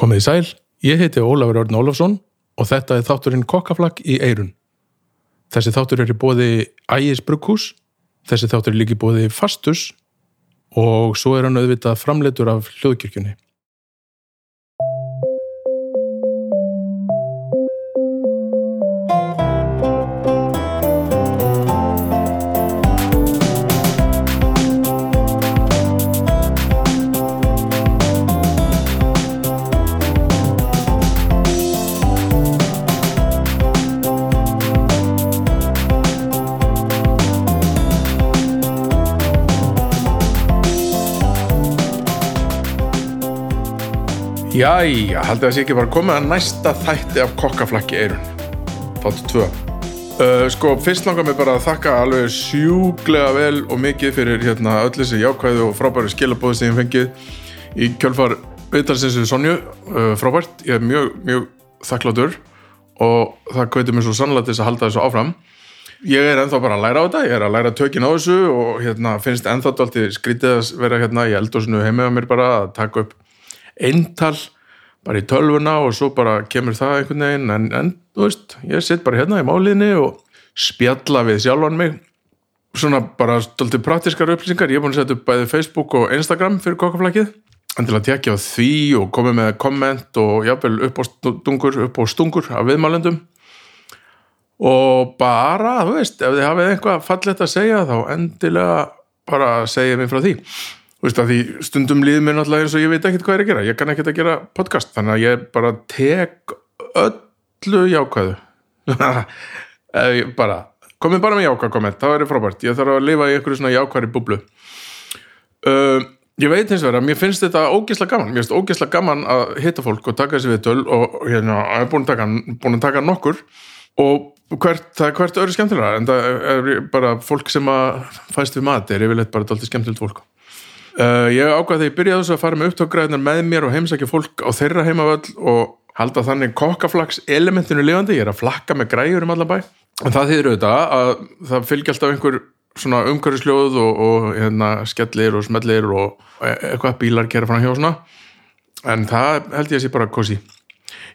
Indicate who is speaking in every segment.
Speaker 1: Komið í sæl, ég heiti Ólafur Örn Ólafsson og þetta er þátturinn kokkaflakk í eirun. Þessi þáttur er í bóði Ægis Brugghús, þessi þáttur er líka í bóði Fastus og svo er hann auðvitað framleitur af hljóðkirkjunni. Jæja, haldið að sé ekki bara komið að næsta þætti af kokkaflakki eirun. Þáttu tvö. Uh, sko, fyrst langar mér bara að þakka alveg sjúglega vel og mikið fyrir hérna öll þessi jákvæðu og frábæru skilabóðu sem ég hef fengið í kjölfar viðtalsins við Sonju, uh, frábært. Ég er mjög, mjög þakkláttur og það kveitir mér svo sannlega til þess að halda þessu áfram. Ég er ennþá bara að læra á þetta, ég er að læra tökin á þessu og hérna finnst ennþá alltaf skrítið að vera hérna í eldosinu heimega mér bara að taka upp eintal bara í tölvuna og svo bara kemur það einhvern veginn en, en þú veist, ég sitt bara hérna í máliðinni og spjalla við sjálfan mig svona bara stolti praktiskar upplýsingar, ég er búin að setja upp bæði Facebook og Instagram fyrir kokkaflakið en til að tekja á því og komið með komment og jafnvel upp á stungur upp á stungur af viðmælendum og bara, þú veist ef þið hafið einhvað fallegt að segja þá endilega bara segja mér frá því Þú veist að því stundum líður mér náttúrulega eins og ég veit ekkert hvað er að gera. Ég kann ekkert að gera podcast, þannig að ég bara tek öllu jákvæðu. Ef ég bara, komið bara með jákvæð komment, það verður frábært. Ég þarf að lifa í einhverju svona jákvæðri búblu. Uh, ég veit hins vegar að mér finnst þetta ógisla gaman. Mér finnst ógisla gaman að hitta fólk og taka þessi viðtöl og hérna, ég er búin að taka, búin að taka nokkur og hvert, það er hvert öru skemmtilega en það er bara fólk sem að fæst við mat er yfirleitt bara dálítið skemmtilegt fólk. Uh, ég ákvað þegar ég byrjaði þessu að fara með upptökgræðinar með mér og heimsækja fólk á þeirra heimavöll og halda þannig kokkaflags elementinu lifandi, ég er að flakka með græjur um allan bæ. En það þýðir auðvitað að það fylgja alltaf einhver svona umhverfisljóð og, og hérna, skellir og smellir og e- eitthvað bílar kera fram hjá og svona. En það held ég að sé bara kosi.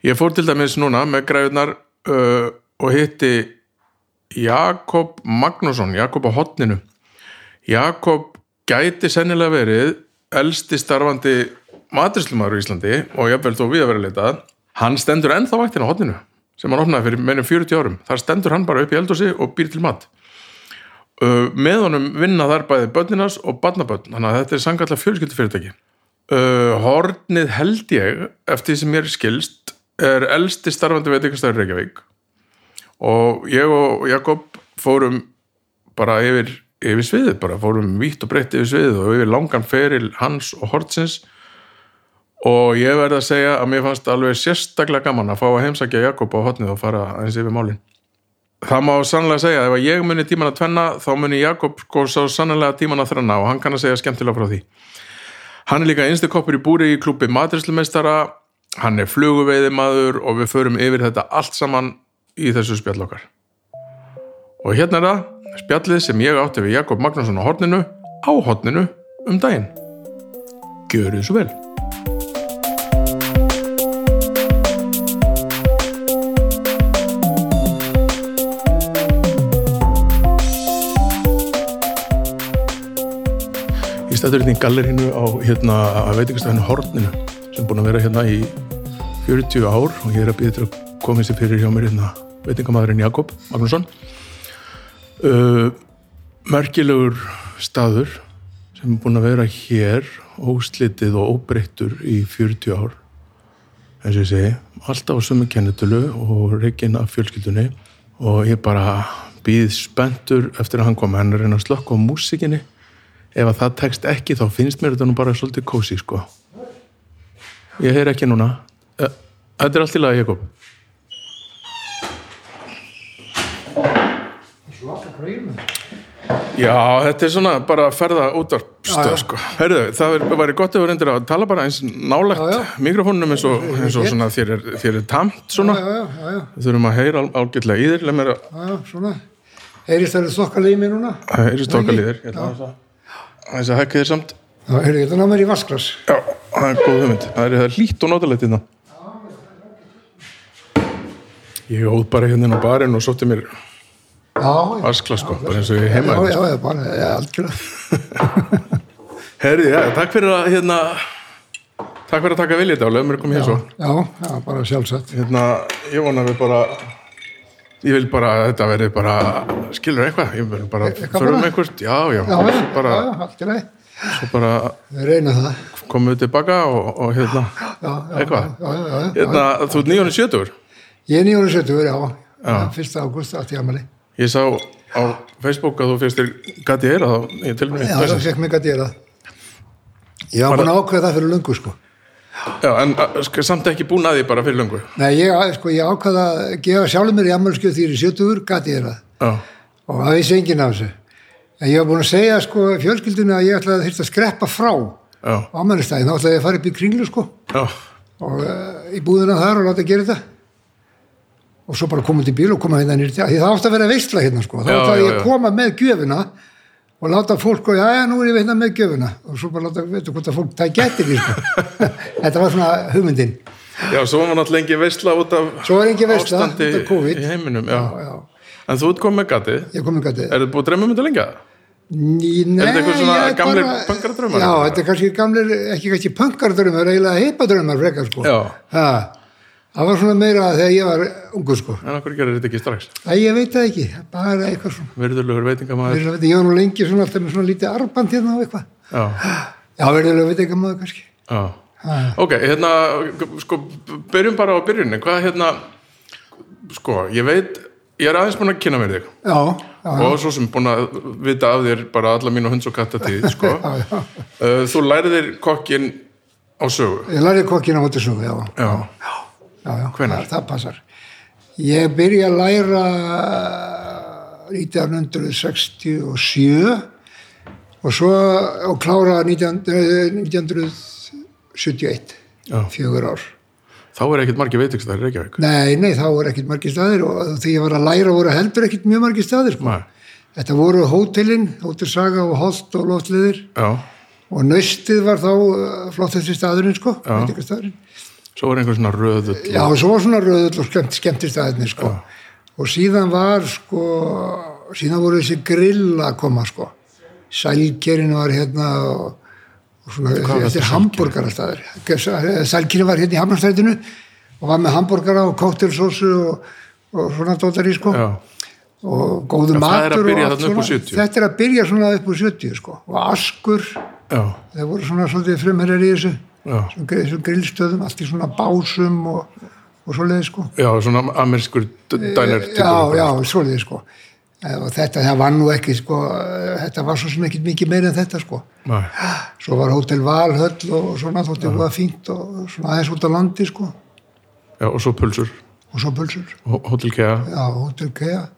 Speaker 1: Ég fór til dæmis núna með græjurnar uh, og hitti Jakob Magnússon, Jakob á hotninu. Jakob gæti sennilega verið elsti starfandi maturislumæður í Íslandi og jafnvel þó við að vera leitað hann stendur ennþá vaktin á hotninu sem hann opnaði fyrir meirum 40 árum þar stendur hann bara upp í eldhúsi og býr til mat uh, með honum vinna þar bæði börninas og barnabörn þannig að þetta er sangalla fjölskyldufyrirtæki uh, Hornið held ég eftir því sem mér skilst er elsti starfandi veitingastæður Reykjavík og ég og Jakob fórum bara yfir, yfir sviðið bara fórum vítt og breytt yfir sviðið og yfir langan feril hans og hortsins og ég verði að segja að mér fannst alveg sérstaklega gaman að fá að heimsækja Jakob á hotnið og fara eins yfir málin það má sannlega segja að ef að ég muni tíman að tvenna þá muni Jakob sko sá sannlega tíman að þrenna og hann kann að segja skemmtilega frá því Hann er líka einstu koppur í búri í klubbi matrislumeistara, hann er fluguveiðimaður og við förum yfir þetta allt saman í þessu spjall okkar. Og hérna er það, spjallið sem ég átti við Jakob Magnússon á horninu, á horninu, um daginn. Gjörið svo vel. Ég stættur hérna í gallerinu á hérna, veitingastæðinu horninu sem er búin að vera hérna í 40 ár og ég er að býða til að koma sér fyrir hjá mér hérna veitingamæðurinn Jakob Magnússon. Uh, merkilegur staður sem er búin að vera hér óslitið og óbreyttur í 40 ár eins og ég segi, alltaf á sömu kennitölu og reygin af fjölskyldunni og ég bara býð spenntur eftir að hann kom hann er að reyna að slökka á músikinni ef að það tekst ekki þá finnst mér þetta nú bara svolítið kósi sko ég heyr ekki núna Eh, Þetta er allt í lagi Jakob
Speaker 2: Svaka græjum
Speaker 1: Já, þetta er svona bara ferða útvarpstöð
Speaker 2: Já, já.
Speaker 1: sko. Herðu, það er- væri gott ef við reyndir að tala bara eins nálægt
Speaker 2: Já, já.
Speaker 1: mikrofónum eins og, eins og svona þér er, þér er tamt
Speaker 2: Já,
Speaker 1: svona.
Speaker 2: já, já, já,
Speaker 1: Við þurfum að heyra al- ágætlega í þér, leið mér að
Speaker 2: já, já, svona Heyrist það eru þokkalið í mér núna?
Speaker 1: heyri stóka líðir. Ég ætla aðeins að- aðeins að hekka þér samt.
Speaker 2: Já, heyrðu, ég ætla að ná mér í vasklas
Speaker 1: Já, það er góð hugmynd. Það er það er hlýtt og notalegt hérna. í það. Ég óð bara hérna inn á barinn og sótti mér
Speaker 2: Já, já,
Speaker 1: askla sko, bara eins og ég
Speaker 2: já,
Speaker 1: heima
Speaker 2: já, já, bara, já, algjörlega.
Speaker 1: Herði, já, takk fyrir að hérna Takk fyrir að taka viljið þetta og lögum mér að koma hér svo
Speaker 2: Já, já, bara sjálfsagt.
Speaker 1: Hérna, ég vona að við bara Ég vil bara, að þetta verði bara skilur eitthvað, ég vil bara
Speaker 2: Eitthvað
Speaker 1: förum
Speaker 2: bara?
Speaker 1: einhvert, já, já,
Speaker 2: Já, já,
Speaker 1: bara,
Speaker 2: já, já, algjörlega.
Speaker 1: svo bara
Speaker 2: Við reynum það.
Speaker 1: komum við tilbaka og, og hérna,
Speaker 2: Já, já,
Speaker 1: eitthvað
Speaker 2: já, já, já.
Speaker 1: hérna, þú ert 970
Speaker 2: Ég er nýjónu sjötugur, já. já. Fyrsta ágúst, allt í amali.
Speaker 1: ég sá á Facebook að þú fyrst þér gæti eira þá, ég tilmið
Speaker 2: Já, það fekk mig að dýra. Ég var búin að ákveða það fyrir lungu, sko.
Speaker 1: já, en að, sk- samt ekki búin að því bara fyrir löngu
Speaker 2: Nei, ég, sko, ég ákveða að gefa sjálfur mér í amalskjöð því ég er sjötugur, gæti ég það.
Speaker 1: já,
Speaker 2: og það vissi enginn af þessu en ég var búin að segja sko fjölskyldinu að ég ætlaði að þyrst að skreppa frá á
Speaker 1: já,
Speaker 2: ammælistæðin, þá ætlaði ég að fara upp í kringlu sko
Speaker 1: já
Speaker 2: og uh, í búðina þar og láta að gera þetta og svo bara koma til bíl og koma hérna nýrt því það átti að vera veistla hérna sko þá
Speaker 1: Já,
Speaker 2: ætlaði
Speaker 1: já,
Speaker 2: ég
Speaker 1: já.
Speaker 2: að koma með gjöfina og láta fólk og já, já, nú er ég veitna með gjöfina og svo bara láta, veitu hvort að fólk það getur því sko þetta var svona hugmyndin
Speaker 1: já, svo var náttúrulega engin veistla út af
Speaker 2: Svo var engin veisla,
Speaker 1: ástandi
Speaker 2: út af COVID.
Speaker 1: í heiminum, já,
Speaker 2: já,
Speaker 1: en þú ert komið með gæti
Speaker 2: ég kom ekki að þetta
Speaker 1: er þið búið að dreyma um þetta lengi?
Speaker 2: Ný, nei,
Speaker 1: þetta eitthvað svona
Speaker 2: ég
Speaker 1: gamlir punkardraumar?
Speaker 2: Já, þetta er kannski gamlir, ekki kannski punkardrömmar, eiginlega heipadrömmar frekar sko.
Speaker 1: já,
Speaker 2: Ha, það var svona meira þegar ég var ungur sko.
Speaker 1: en okkur gerir þetta ekki strax
Speaker 2: Æ, ég veit það ekki, bara eitthvað svona.
Speaker 1: virðulegur veitingamæður
Speaker 2: Virðulega veit, ég var nú lengi svona alltaf með svona lítið arband hérna og eitthvað.
Speaker 1: já,
Speaker 2: Já, virðulega veit ekki maður kannski.
Speaker 1: já
Speaker 2: Ha,
Speaker 1: ok, hérna, sko byrjum bara á byrjunni, hvað hérna sko, ég veit ég er aðeins búin að kynna mér þig
Speaker 2: já, já,
Speaker 1: og svo sem búin að vita af þér bara alla mínu hunds og katta tíð sko.
Speaker 2: já, já.
Speaker 1: Uh, þú læriðir kokkin á sögu
Speaker 2: Ég lærði kokkin á Votisúfi, já.
Speaker 1: já,
Speaker 2: já, já.
Speaker 1: Hvenær?
Speaker 2: Það, það passar. Ég byrja að læra uh, 1967 og svo og klára 19, eh, 1971,
Speaker 1: Já.
Speaker 2: fjögur ár.
Speaker 1: þá er ekkert margir veitingstæðir í Reykjavík
Speaker 2: Nei, nei, þá voru ekkert margir staðir og þegar ég var að læra voru heldur ekkert mjög margir staðir. Sko.
Speaker 1: Nei.
Speaker 2: Þetta voru hótelin, hótelsaga og holt og loftliðir
Speaker 1: já,
Speaker 2: og nöstið var þá eh, flottasti staðurinn, sko, veitingastaðurinn.
Speaker 1: svo er einhver svona röðull
Speaker 2: Já, og svo var svona röðull og skemmt, skemmtist aðeins, sko. Og síðan var, sko, síðan voru þessi grill að koma, sko. Sælgerin var hérna og, og svona,
Speaker 1: var
Speaker 2: þetta
Speaker 1: þetta
Speaker 2: er hambúrgarastæður. Sælgerin var hérna í Hamnastæðinu og var með hambúrgara og kóktelsósu og, og svona dótar í, sko.
Speaker 1: já,
Speaker 2: Og góðu
Speaker 1: það er að
Speaker 2: matur og
Speaker 1: byrja
Speaker 2: allt
Speaker 1: þarna upp úr 70.
Speaker 2: Þetta er að byrja svona upp úr 70, sko. Og askur,
Speaker 1: já,
Speaker 2: það voru svona svolítið frumherjar í þessu
Speaker 1: já.
Speaker 2: þessum gri- þessum grillstöðum, allt í svona básum og, og svoleiði sko.
Speaker 1: já svona amerskur dænir
Speaker 2: Eh, Já, já, svoleiði sko. Eh, Og þetta, það var nú ekki sko, eh, þetta var svo sem ekkit mikið meira en þetta sko.
Speaker 1: já
Speaker 2: Svo var Hótel Valhöll og svona þótti húða fínt og svona aðeins út á landi sko.
Speaker 1: Já, og svo pulsur,
Speaker 2: Og svo pulsur.
Speaker 1: Hó- Hótel Kea
Speaker 2: Já, Hótel Kea.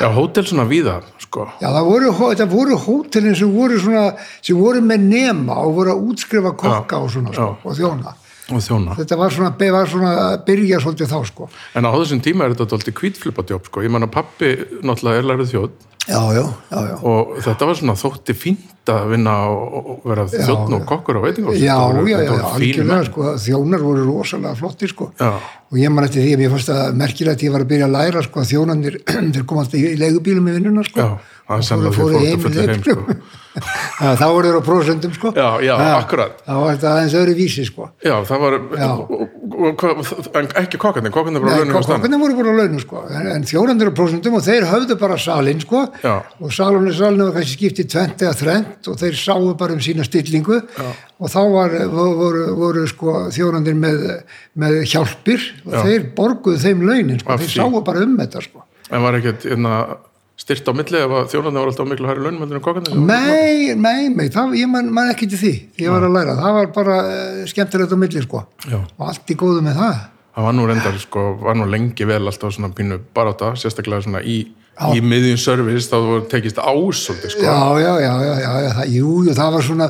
Speaker 1: Já, hótel svona víða, sko
Speaker 2: Já, það voru, hó- þetta voru hótelin sem voru svona, sem voru með nema og voru að útskrifa kokka
Speaker 1: Já,
Speaker 2: og svona sko,
Speaker 1: já.
Speaker 2: og þjóna.
Speaker 1: og þjóna
Speaker 2: Þetta var svona, var svona að byrja svolítið þá sko.
Speaker 1: En á þessum tíma er þetta dálítið kvítflippadjóp, sko Ég man að pappi náttúrulega er lærið þjóð
Speaker 2: Já, já, já, já.
Speaker 1: og þetta var svona þótti fínt að vinna og og vera þjóttn og kokkur á veitingahúsi
Speaker 2: Já,
Speaker 1: Þetta voru-
Speaker 2: já, já,
Speaker 1: þetta voru fínir
Speaker 2: algjörlega
Speaker 1: menn.
Speaker 2: sko, þjónar voru rosalega flotti sko
Speaker 1: Já.
Speaker 2: og ég man eftir því að mér fannst það merkilegt ég var að byrja að læra sko að þjónarnir þeir kom alltaf í leigubílum í vinnuna sko
Speaker 1: Já, það er
Speaker 2: og
Speaker 1: sennilega því
Speaker 2: fóru- fóru
Speaker 1: fólk að
Speaker 2: heim í
Speaker 1: fulla heim, sko.
Speaker 2: leigubílum. Já, þá voru þeir á prósentum sko
Speaker 1: Já, já, akkurat.
Speaker 2: þá var þetta aðeins öðru vísi sko
Speaker 1: Já, það var,
Speaker 2: Já.
Speaker 1: og- og- hvað- en ekki kokkarnir, kokkarnir bara á launum á stann
Speaker 2: Kokkarnir voru bara á launum sko en, en þjónarnir á prósentum og þeir höfðu bara salin sko
Speaker 1: Já.
Speaker 2: og salunni salunni var kannski skipt í tvent eða þrent og þeir sáu bara um sína stillingu Já. og þá var, voru, voru, voru sko þjónarnir með, með hjálpir og
Speaker 1: Já.
Speaker 2: þeir borguðu þeim launin sko
Speaker 1: Af
Speaker 2: þeir
Speaker 1: því.
Speaker 2: sáu bara um þetta sko
Speaker 1: En var ekkert, hérna, styrt á milli ef að þjónarnir voru alltaf á miklu hæri launum heldur en kokkarnir
Speaker 2: Nei, nei, nei, það, ég man, man ekki til því ég var að læra, það var bara uh, skemmtilegt á milli sko
Speaker 1: Já.
Speaker 2: og allt í góðu með það
Speaker 1: Það var nú reyndar, sko, var nú lengi vel alltaf svona pínu baráta, sérstaklega svona í, í miðjum service, þá voru tekist á svolítið, sko.
Speaker 2: Já, já, já, já, já, já það, jú, jú, það var svona,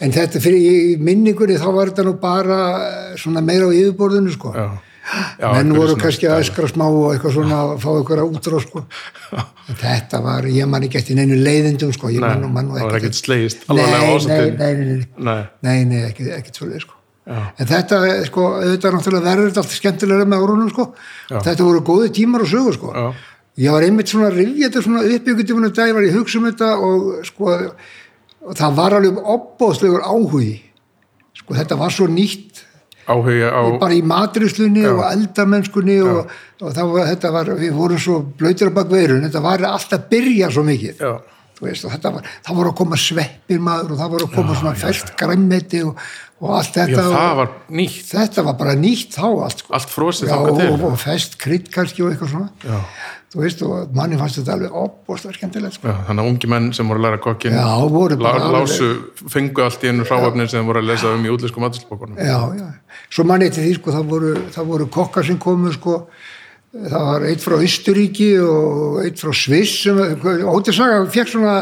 Speaker 2: en þetta fyrir í minningunni þá var þetta nú bara eh, svona meira á yfirborðinu, sko.
Speaker 1: Já. Já,
Speaker 2: Menn
Speaker 1: einhverju
Speaker 2: voru
Speaker 1: svona-
Speaker 2: kannski að öskra smá og eitthvað svona að fá eitthvað útrá, sko. En Þetta var, ég man ekki eftir neinu leiðindum, sko, ég
Speaker 1: Nei,
Speaker 2: man nú, man nú
Speaker 1: það var
Speaker 2: ekki.
Speaker 1: ekkert slegist
Speaker 2: Nei,
Speaker 1: alvarlega á
Speaker 2: nei,
Speaker 1: ásatíðinni.
Speaker 2: nei, nei, nei,
Speaker 1: Nei.
Speaker 2: nei, nei, ekki, ekki svolítið, sko. en þetta, sko, þetta er náttúrulega verður þetta allt skemmtilega með árunum, sko
Speaker 1: Já.
Speaker 2: þetta voru góði tímar og sögur, sko
Speaker 1: Já.
Speaker 2: ég var einmitt svona að rifja þetta svona upp ykkur tímanum dag, ég var í hugsa um þetta og sko, og það var alveg opbóðslegur áhugi sko, þetta var svo nýtt
Speaker 1: áhuga á
Speaker 2: bara í matriðslunni og eldamennskunni og, og það var, þetta var, við vorum svo blöytir á bakveirun, þetta var allt að byrja svo mikið
Speaker 1: já,
Speaker 2: þú veist, og þetta var, það voru að koma sveppir maður og það voru að koma svona fælt græmmeti og, og allt
Speaker 1: já,
Speaker 2: þetta
Speaker 1: það
Speaker 2: og,
Speaker 1: var nýtt
Speaker 2: þetta var bara nýtt þá allt, sko.
Speaker 1: allt frosið
Speaker 2: já,
Speaker 1: þangað
Speaker 2: og,
Speaker 1: til
Speaker 2: og fest krydd kannski og eitthvað svona
Speaker 1: Já.
Speaker 2: þú veist, og manni fannst þetta alveg opbóðslega skemmtilegt, sko.
Speaker 1: Já, þannig að ungi menn sem voru að læra kokkin
Speaker 2: Já, voru
Speaker 1: lá,
Speaker 2: bara alveg-
Speaker 1: lásu, fengu allt í einu hráefnin sem þeir voru að lesa um í útlýsku maturslbókunum
Speaker 2: já, já, svo manni eftir því, sko, það voru, það voru kokkar sem komu, sko það var eitt frá Austuríki og eitt frá Sviss sem, sko, Ótisaga fekk svona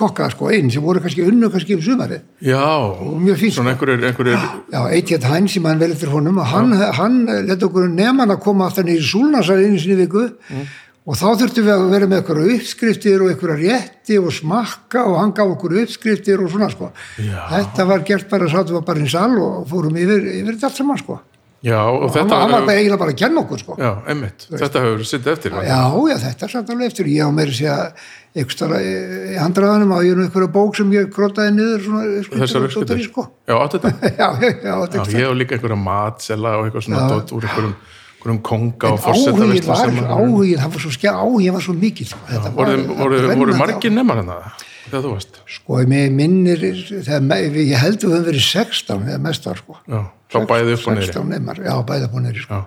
Speaker 2: kokka, sko, einn sem voru kannski unnu kannski um sumarið
Speaker 1: Já,
Speaker 2: mjög fínt, Ah,
Speaker 1: svona einhverjir, einhverjir
Speaker 2: Já, Eitjad Hæns, ég mann vel eftir honum og hann, hann leti okkur neman að koma aftan í súlnasar einu sinni í viku
Speaker 1: Mm.
Speaker 2: og þá þurftum við að vera með okkur uppskriftir og einhverja rétti og smakka og hann gaf okkur uppskriftir og svona sko.
Speaker 1: Já.
Speaker 2: Þetta var gert bara, sátum við bara í sal og fórum yfir, yfir þetta allt saman sko.
Speaker 1: Já, og
Speaker 2: Hann,
Speaker 1: þetta
Speaker 2: hann var bara eiginlega bara að kenna okkur sko.
Speaker 1: Já, einmitt, þetta hefur sitt eftir já,
Speaker 2: Já, já, þetta er samt alveg eftir. Ég á meira að segja einhvers staðar í í handraðanum á ég nú einhverja bók sem ég krotaði niður svona uppskriftir
Speaker 1: Þessar
Speaker 2: og dótar í,
Speaker 1: uppskriftir
Speaker 2: sko.
Speaker 1: Já, átt þetta
Speaker 2: Já, já, já, þetta
Speaker 1: Já,
Speaker 2: er
Speaker 1: ég hef líka einhverja matsela og eitthvað svona dótt úr einhverjum, einhverjum konga og forseta
Speaker 2: áhugin var, áhugin, það var svo skjá, áhugin var svo mikill sko. Þetta var-
Speaker 1: Voru,
Speaker 2: þetta
Speaker 1: voru, voru
Speaker 2: brennandi
Speaker 1: margir nefnar hana þegar þú varst
Speaker 2: á- sko, mér minnir, þegar, me- ég held við höfum verið 16 eða mestar sko.
Speaker 1: Já, þá bæði upp og niður
Speaker 2: 16 neymar, já, bæði upp og niðri sko.
Speaker 1: Já,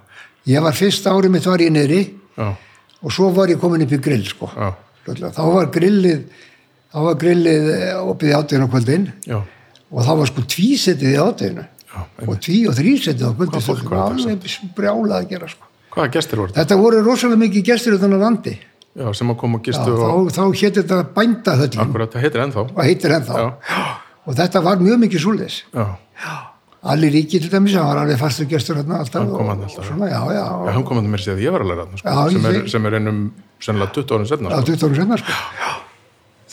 Speaker 2: ég var fyrst árið mitt var ég niðri
Speaker 1: já,
Speaker 2: og svo var ég komin upp í grill sko.
Speaker 1: já,
Speaker 2: Fljótlega. þá var grillið þá var grillið eh, opið í átíðinu á kvöldin
Speaker 1: já,
Speaker 2: og þá var sko tvísetið í átíðinu
Speaker 1: já
Speaker 2: og
Speaker 1: einmitt.
Speaker 2: tví og þrísetið á kvöldin
Speaker 1: Hvað fólk
Speaker 2: sem
Speaker 1: var
Speaker 2: var
Speaker 1: þetta
Speaker 2: alveg brjálað að gera sko.
Speaker 1: Hvaða gestir voru þetta?
Speaker 2: þetta voru rosalega mikið gestur utan að landi
Speaker 1: Já, sem að koma og
Speaker 2: Já,
Speaker 1: gistu og
Speaker 2: þá, þá hétt þetta bændahöllin
Speaker 1: akkurat, það heitir ennþá
Speaker 2: og heitir ennþá og þetta var mjög mikið súleis
Speaker 1: Já,
Speaker 2: allir ríki til dæmis, hann var alveg fastur gestur hérna alltaf,
Speaker 1: kom
Speaker 2: og,
Speaker 1: hann
Speaker 2: og
Speaker 1: alltaf.
Speaker 2: svona, já, já,
Speaker 1: já hann kom að mér séð að ég var að læra þarna, sko,
Speaker 2: Já, ég
Speaker 1: sem, er,
Speaker 2: segi-
Speaker 1: sem er einum sennilega 20 árum setna
Speaker 2: á
Speaker 1: sko.
Speaker 2: 20 árum senna sko.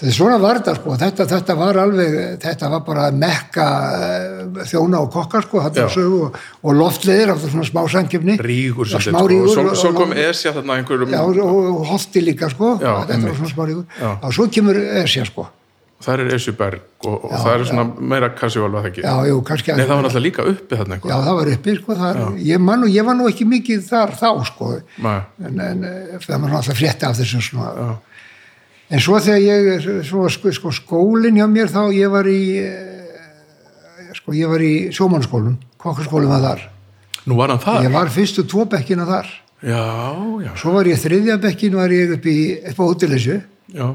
Speaker 2: þetta er svona var þetta sko, þetta, þetta var alveg þetta var bara mekka eh, þjóna og kokkar sko, þarna
Speaker 1: Já.
Speaker 2: sögu og, og loftleðir, alltaf svona smá samkjöfni
Speaker 1: Rígur
Speaker 2: Já,
Speaker 1: svolítið,
Speaker 2: smá
Speaker 1: sko.
Speaker 2: rígur
Speaker 1: Svo,
Speaker 2: og-
Speaker 1: svo kom
Speaker 2: og-
Speaker 1: Esja þarna einhverjum,
Speaker 2: já, og, og holti líka sko,
Speaker 1: Já,
Speaker 2: þetta
Speaker 1: einmitt.
Speaker 2: var svona smá ríkur
Speaker 1: Já.
Speaker 2: og svo kemur Esja sko
Speaker 1: það er Esjuberg og, og það er svona meira casual, var það ekki?
Speaker 2: já, jú, kannski
Speaker 1: Nei, það var náttúrulega líka uppi þarna
Speaker 2: já,
Speaker 1: einhver.
Speaker 2: það var uppi sko, það, ég, man, nú- ég var nú ekki mikið þar þá sko,
Speaker 1: Nei,
Speaker 2: en, en eh, það var náttúrulega frétta af þessu svona. en svo þegar ég svo, var sko, sko, skólin hjá mér þá ég var í eh, sko, ég var í sjómannskólum kokkaskólum að þar
Speaker 1: Nú var hann það?
Speaker 2: ég var fyrstu tvo bekkina þar
Speaker 1: Já, já,
Speaker 2: svo var ég þriðja bekkin var ég upp, í, upp á útilissu
Speaker 1: já.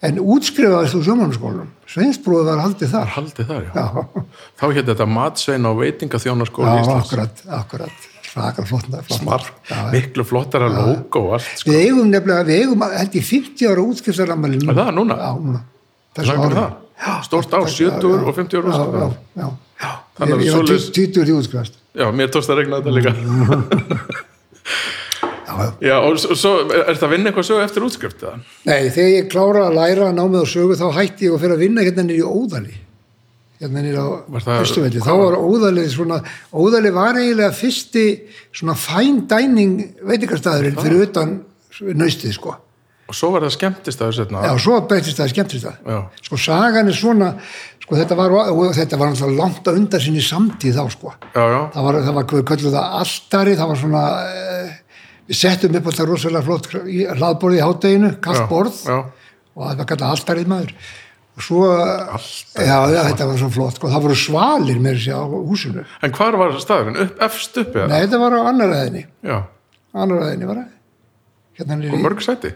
Speaker 2: en útskrifaðist úr sjómannskólum sveinsbróði var haldið
Speaker 1: Það
Speaker 2: þar
Speaker 1: haldið þar, já.
Speaker 2: já,
Speaker 1: Þá hétt þetta matsvein á veitingaþjónarskóli
Speaker 2: já
Speaker 1: Íslands.
Speaker 2: akkurat, akkurat svakar flott flott-
Speaker 1: Marr,
Speaker 2: já,
Speaker 1: miklu flottara logo og allt, sko.
Speaker 2: Við eigum nefnilega, við eigum held í 50 ára útskiptaramæli núna.
Speaker 1: Er það núna?
Speaker 2: Já, núna. Þessu
Speaker 1: Langar
Speaker 2: ári.
Speaker 1: það? Stórt á, 70 og 50
Speaker 2: Já, já,
Speaker 1: ára.
Speaker 2: já.
Speaker 1: Þannig að
Speaker 2: Ég- ég var
Speaker 1: svoleiðis-
Speaker 2: 20 í útskiptast.
Speaker 1: Já, mér tókst að regna þetta
Speaker 2: Mm.
Speaker 1: líka.
Speaker 2: Já, já.
Speaker 1: Já, og s- og svo er það að vinna eitthvað sög eftir útskrift, eða?
Speaker 2: Nei, þegar ég klára að læra námið og sögu þá hætti ég að fyrir að vinna hérna nýri í Óðali. Hérna nýri á
Speaker 1: Var það-
Speaker 2: Östuvelli. Þá var Óðali svona, Óðali var eiginlega fyrsti svona fine dining veitingastæðurinn fyrir utan nöstið sko.
Speaker 1: Og svo var það skemmtist að þessu
Speaker 2: Já,
Speaker 1: hérna.
Speaker 2: svo breytist það, skemmtist það.
Speaker 1: Já,
Speaker 2: Sko sagan er svona, sko þetta var, og þetta var náttúrulega langt að undan sinni samtíð þá sko.
Speaker 1: já, já.
Speaker 2: Það var, það var, við köllum það alltari, það var svona, eh, við settum upp alltaf rosalega flott í- hlaðborð í hátteginu, kallt
Speaker 1: Já,
Speaker 2: borð
Speaker 1: Já,
Speaker 2: og það var kallað alltarið maður. Og svo,
Speaker 1: alltaf.
Speaker 2: já, já, þetta var svo flott, sko, það voru svalir með þessi á húsinu.
Speaker 1: En hvar var staðurinn? Upp, efst uppi, eða?
Speaker 2: Nei, þetta var á annar aðinni,
Speaker 1: Já,
Speaker 2: annar aðinni var það. Hérna niður
Speaker 1: og
Speaker 2: í-
Speaker 1: mörg sæti.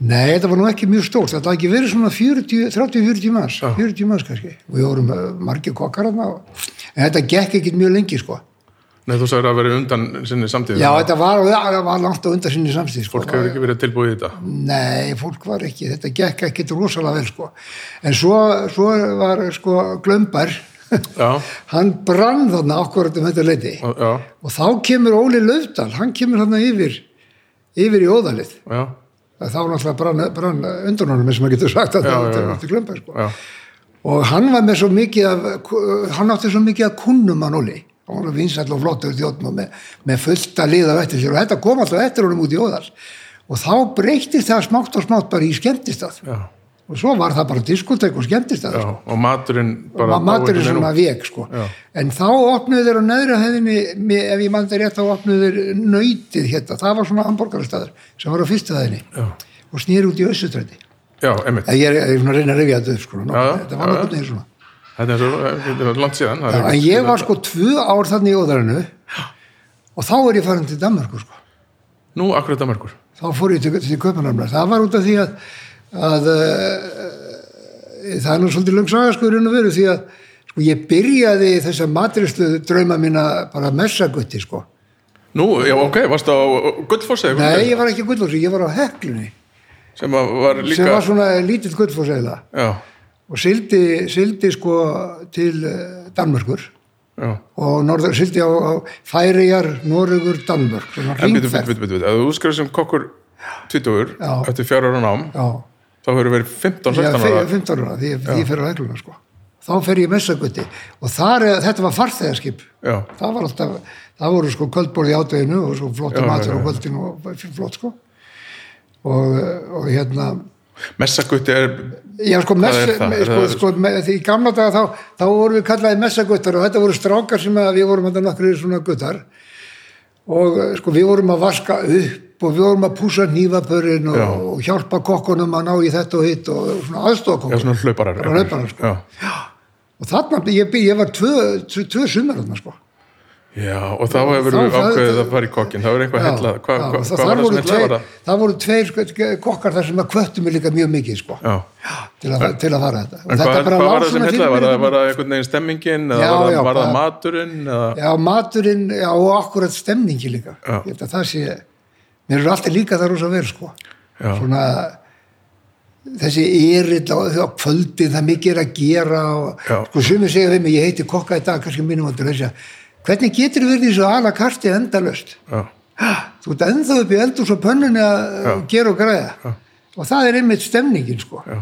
Speaker 2: Nei, þetta var nú ekki mjög stórt, þetta hafði ekki verið svona 40, 30-40 manns, 40 manns kannski. Og Við vorum eh, margir kokkar þarna, og- en þetta gekk ekkit mjög lengi, sko.
Speaker 1: Nei, þú sagður að vera undan sinni samtíð.
Speaker 2: Já, þetta var, það var langt á undan sinni samstíð, sko.
Speaker 1: Fólk hefur ekki verið tilbúið í þetta.
Speaker 2: Mm. Nei, fólk var ekki, þetta gekk ekkit rosalega vel, sko. En svo, svo var, sko, Glömbar,
Speaker 1: Já,
Speaker 2: hann brann þarna akkurat um þetta leiti.
Speaker 1: já,
Speaker 2: Og þá kemur Óli Löfdal, hann kemur þarna yfir, yfir í óðalið.
Speaker 1: já,
Speaker 2: Þá náttúrulega brann, brann undanónum, eins og maður getur sagt að
Speaker 1: Já,
Speaker 2: þetta
Speaker 1: já, já.
Speaker 2: var til Glömbar, sko.
Speaker 1: já.
Speaker 2: og hann var með svo mikið af, hann átti svo mikið að kunnum hann Óli, hann var vinsall og flottur þjóttn og með, með fullta liða eftir sér og þetta kom alltaf eftir honum út í óðars og þá breytist það smátt og smátt bara í skemmtistað
Speaker 1: já,
Speaker 2: og svo var það bara diskotek og skemmtistað
Speaker 1: já, og maturinn bara
Speaker 2: og maturinn
Speaker 1: dáinn
Speaker 2: svona
Speaker 1: er nú.
Speaker 2: vek sko.
Speaker 1: Já.
Speaker 2: en þá opnuðu þeir á neðra hefðinni mi- ef ég mann þeir rétt þá opnuðu þeir nöytið hérna, það var svona hamburgarstaður sem var á fyrstu hefðinni og snýr út í össutræti
Speaker 1: já, einmitt
Speaker 2: ég er, ég er svona að reyna að rifja þetta upp sko,
Speaker 1: Já, já,
Speaker 2: nokkuð, þetta var
Speaker 1: já,
Speaker 2: nokkuð
Speaker 1: já.
Speaker 2: neginn svona
Speaker 1: þetta er svo þetta er langt síðan það er
Speaker 2: Já, en
Speaker 1: einhvern-
Speaker 2: ég var sko tvö ár þannig í óðarinu og þá er ég farin til Danmarku sko.
Speaker 1: nú akkurat að mörgur
Speaker 2: þá fór ég til, til Köpenhamnar það var út af því að, að uh, það er nú svolítið löng saga sko í raun og veru því að sko, ég byrjaði þessa matrislu drauma mína bara messagutti sko
Speaker 1: nú, já, ok, varst á Gullfossi eða
Speaker 2: nei
Speaker 1: eitthvað?
Speaker 2: ég var ekki gullfósi, ég var á heklunni
Speaker 1: sem að var líka
Speaker 2: sem var svona lítill gullfósi eða
Speaker 1: já,
Speaker 2: og sildi, sildi sko til eh, Danmarkur
Speaker 1: já
Speaker 2: og norður, sildi á, á Færijar, Norugur, Danmörk svona
Speaker 1: En bitur,
Speaker 2: hringferð
Speaker 1: bitur, bitur, bitur, ef þú skrifir sem kokkur 20
Speaker 2: Já.
Speaker 1: eftir fjára ára nám,
Speaker 2: já
Speaker 1: þá hefur verið 15,
Speaker 2: Já,
Speaker 1: 16 ára
Speaker 2: 15 ára, því því ég fer á hegluna sko. þá fer ég messagutti og þar, er- þetta var farþegarskip
Speaker 1: já,
Speaker 2: það var alltaf, það voru sko kvöldborð í átöðinu og svo flottur
Speaker 1: Já, já,
Speaker 2: matur
Speaker 1: já.
Speaker 2: á kvöldinu og flott sko og, og hérna
Speaker 1: messagutti er
Speaker 2: já sko, mess,
Speaker 1: er það? Er
Speaker 2: sko,
Speaker 1: það-
Speaker 2: sko me, því í gamla daga þá, þá vorum við kallaði messaguttar og þetta voru strákar sem að við vorum þetta nokkru svona guttar og eh, sko við vorum að vaska upp og við vorum að púsa nývapörin og,
Speaker 1: Já.
Speaker 2: og hjálpa kokkunum að ná í þetta og hitt og svona aðstofa
Speaker 1: já, svona
Speaker 2: kokkunum
Speaker 1: hlauparar
Speaker 2: Bara hlauparar, sko.
Speaker 1: já.
Speaker 2: og þarna, ég, by- ég var tvö, tvö, tvö sumar þarna sko
Speaker 1: já, og þá hefur
Speaker 2: Þá-
Speaker 1: verið
Speaker 2: það-
Speaker 1: ákveðið að fara í kokkin þá er eitthvað
Speaker 2: Já,
Speaker 1: hella, hvað
Speaker 2: já,
Speaker 1: hva, hva var
Speaker 2: það, þar
Speaker 1: það sem
Speaker 2: voru
Speaker 1: hella var
Speaker 2: tveir,
Speaker 1: það?
Speaker 2: það voru tveir sko, kokkar þar sem að kvöttu mig líka mjög mikið sko
Speaker 1: Já,
Speaker 2: til að, til að fara þetta og
Speaker 1: en
Speaker 2: þetta
Speaker 1: hvað, hvað
Speaker 2: lá
Speaker 1: var það sem
Speaker 2: svona
Speaker 1: hella?
Speaker 2: fyrir
Speaker 1: Var
Speaker 2: mér
Speaker 1: það,
Speaker 2: hérna.
Speaker 1: var það einhvern veginn stemmingin eða
Speaker 2: Já,
Speaker 1: var það,
Speaker 2: já,
Speaker 1: var það
Speaker 2: bara-
Speaker 1: maturinn? Eða,
Speaker 2: já, maturinn já, og akkurat stemningi líka
Speaker 1: Já.
Speaker 2: ég held að það sé mér eru alltaf líka það rosa vel sko
Speaker 1: já,
Speaker 2: svona þessi erill á, á kvöldin það mikið er að gera og
Speaker 1: Já.
Speaker 2: sko sumir segja við mig, ég heiti kokka í dag kannski mínum vandur þess að hvernig getur verið þessu ala karti endalöst
Speaker 1: já,
Speaker 2: þú ert ennþá upp í eldús og pönnunni að uh,
Speaker 1: Já.
Speaker 2: gera og græða og það er einmitt stemningin sko
Speaker 1: já.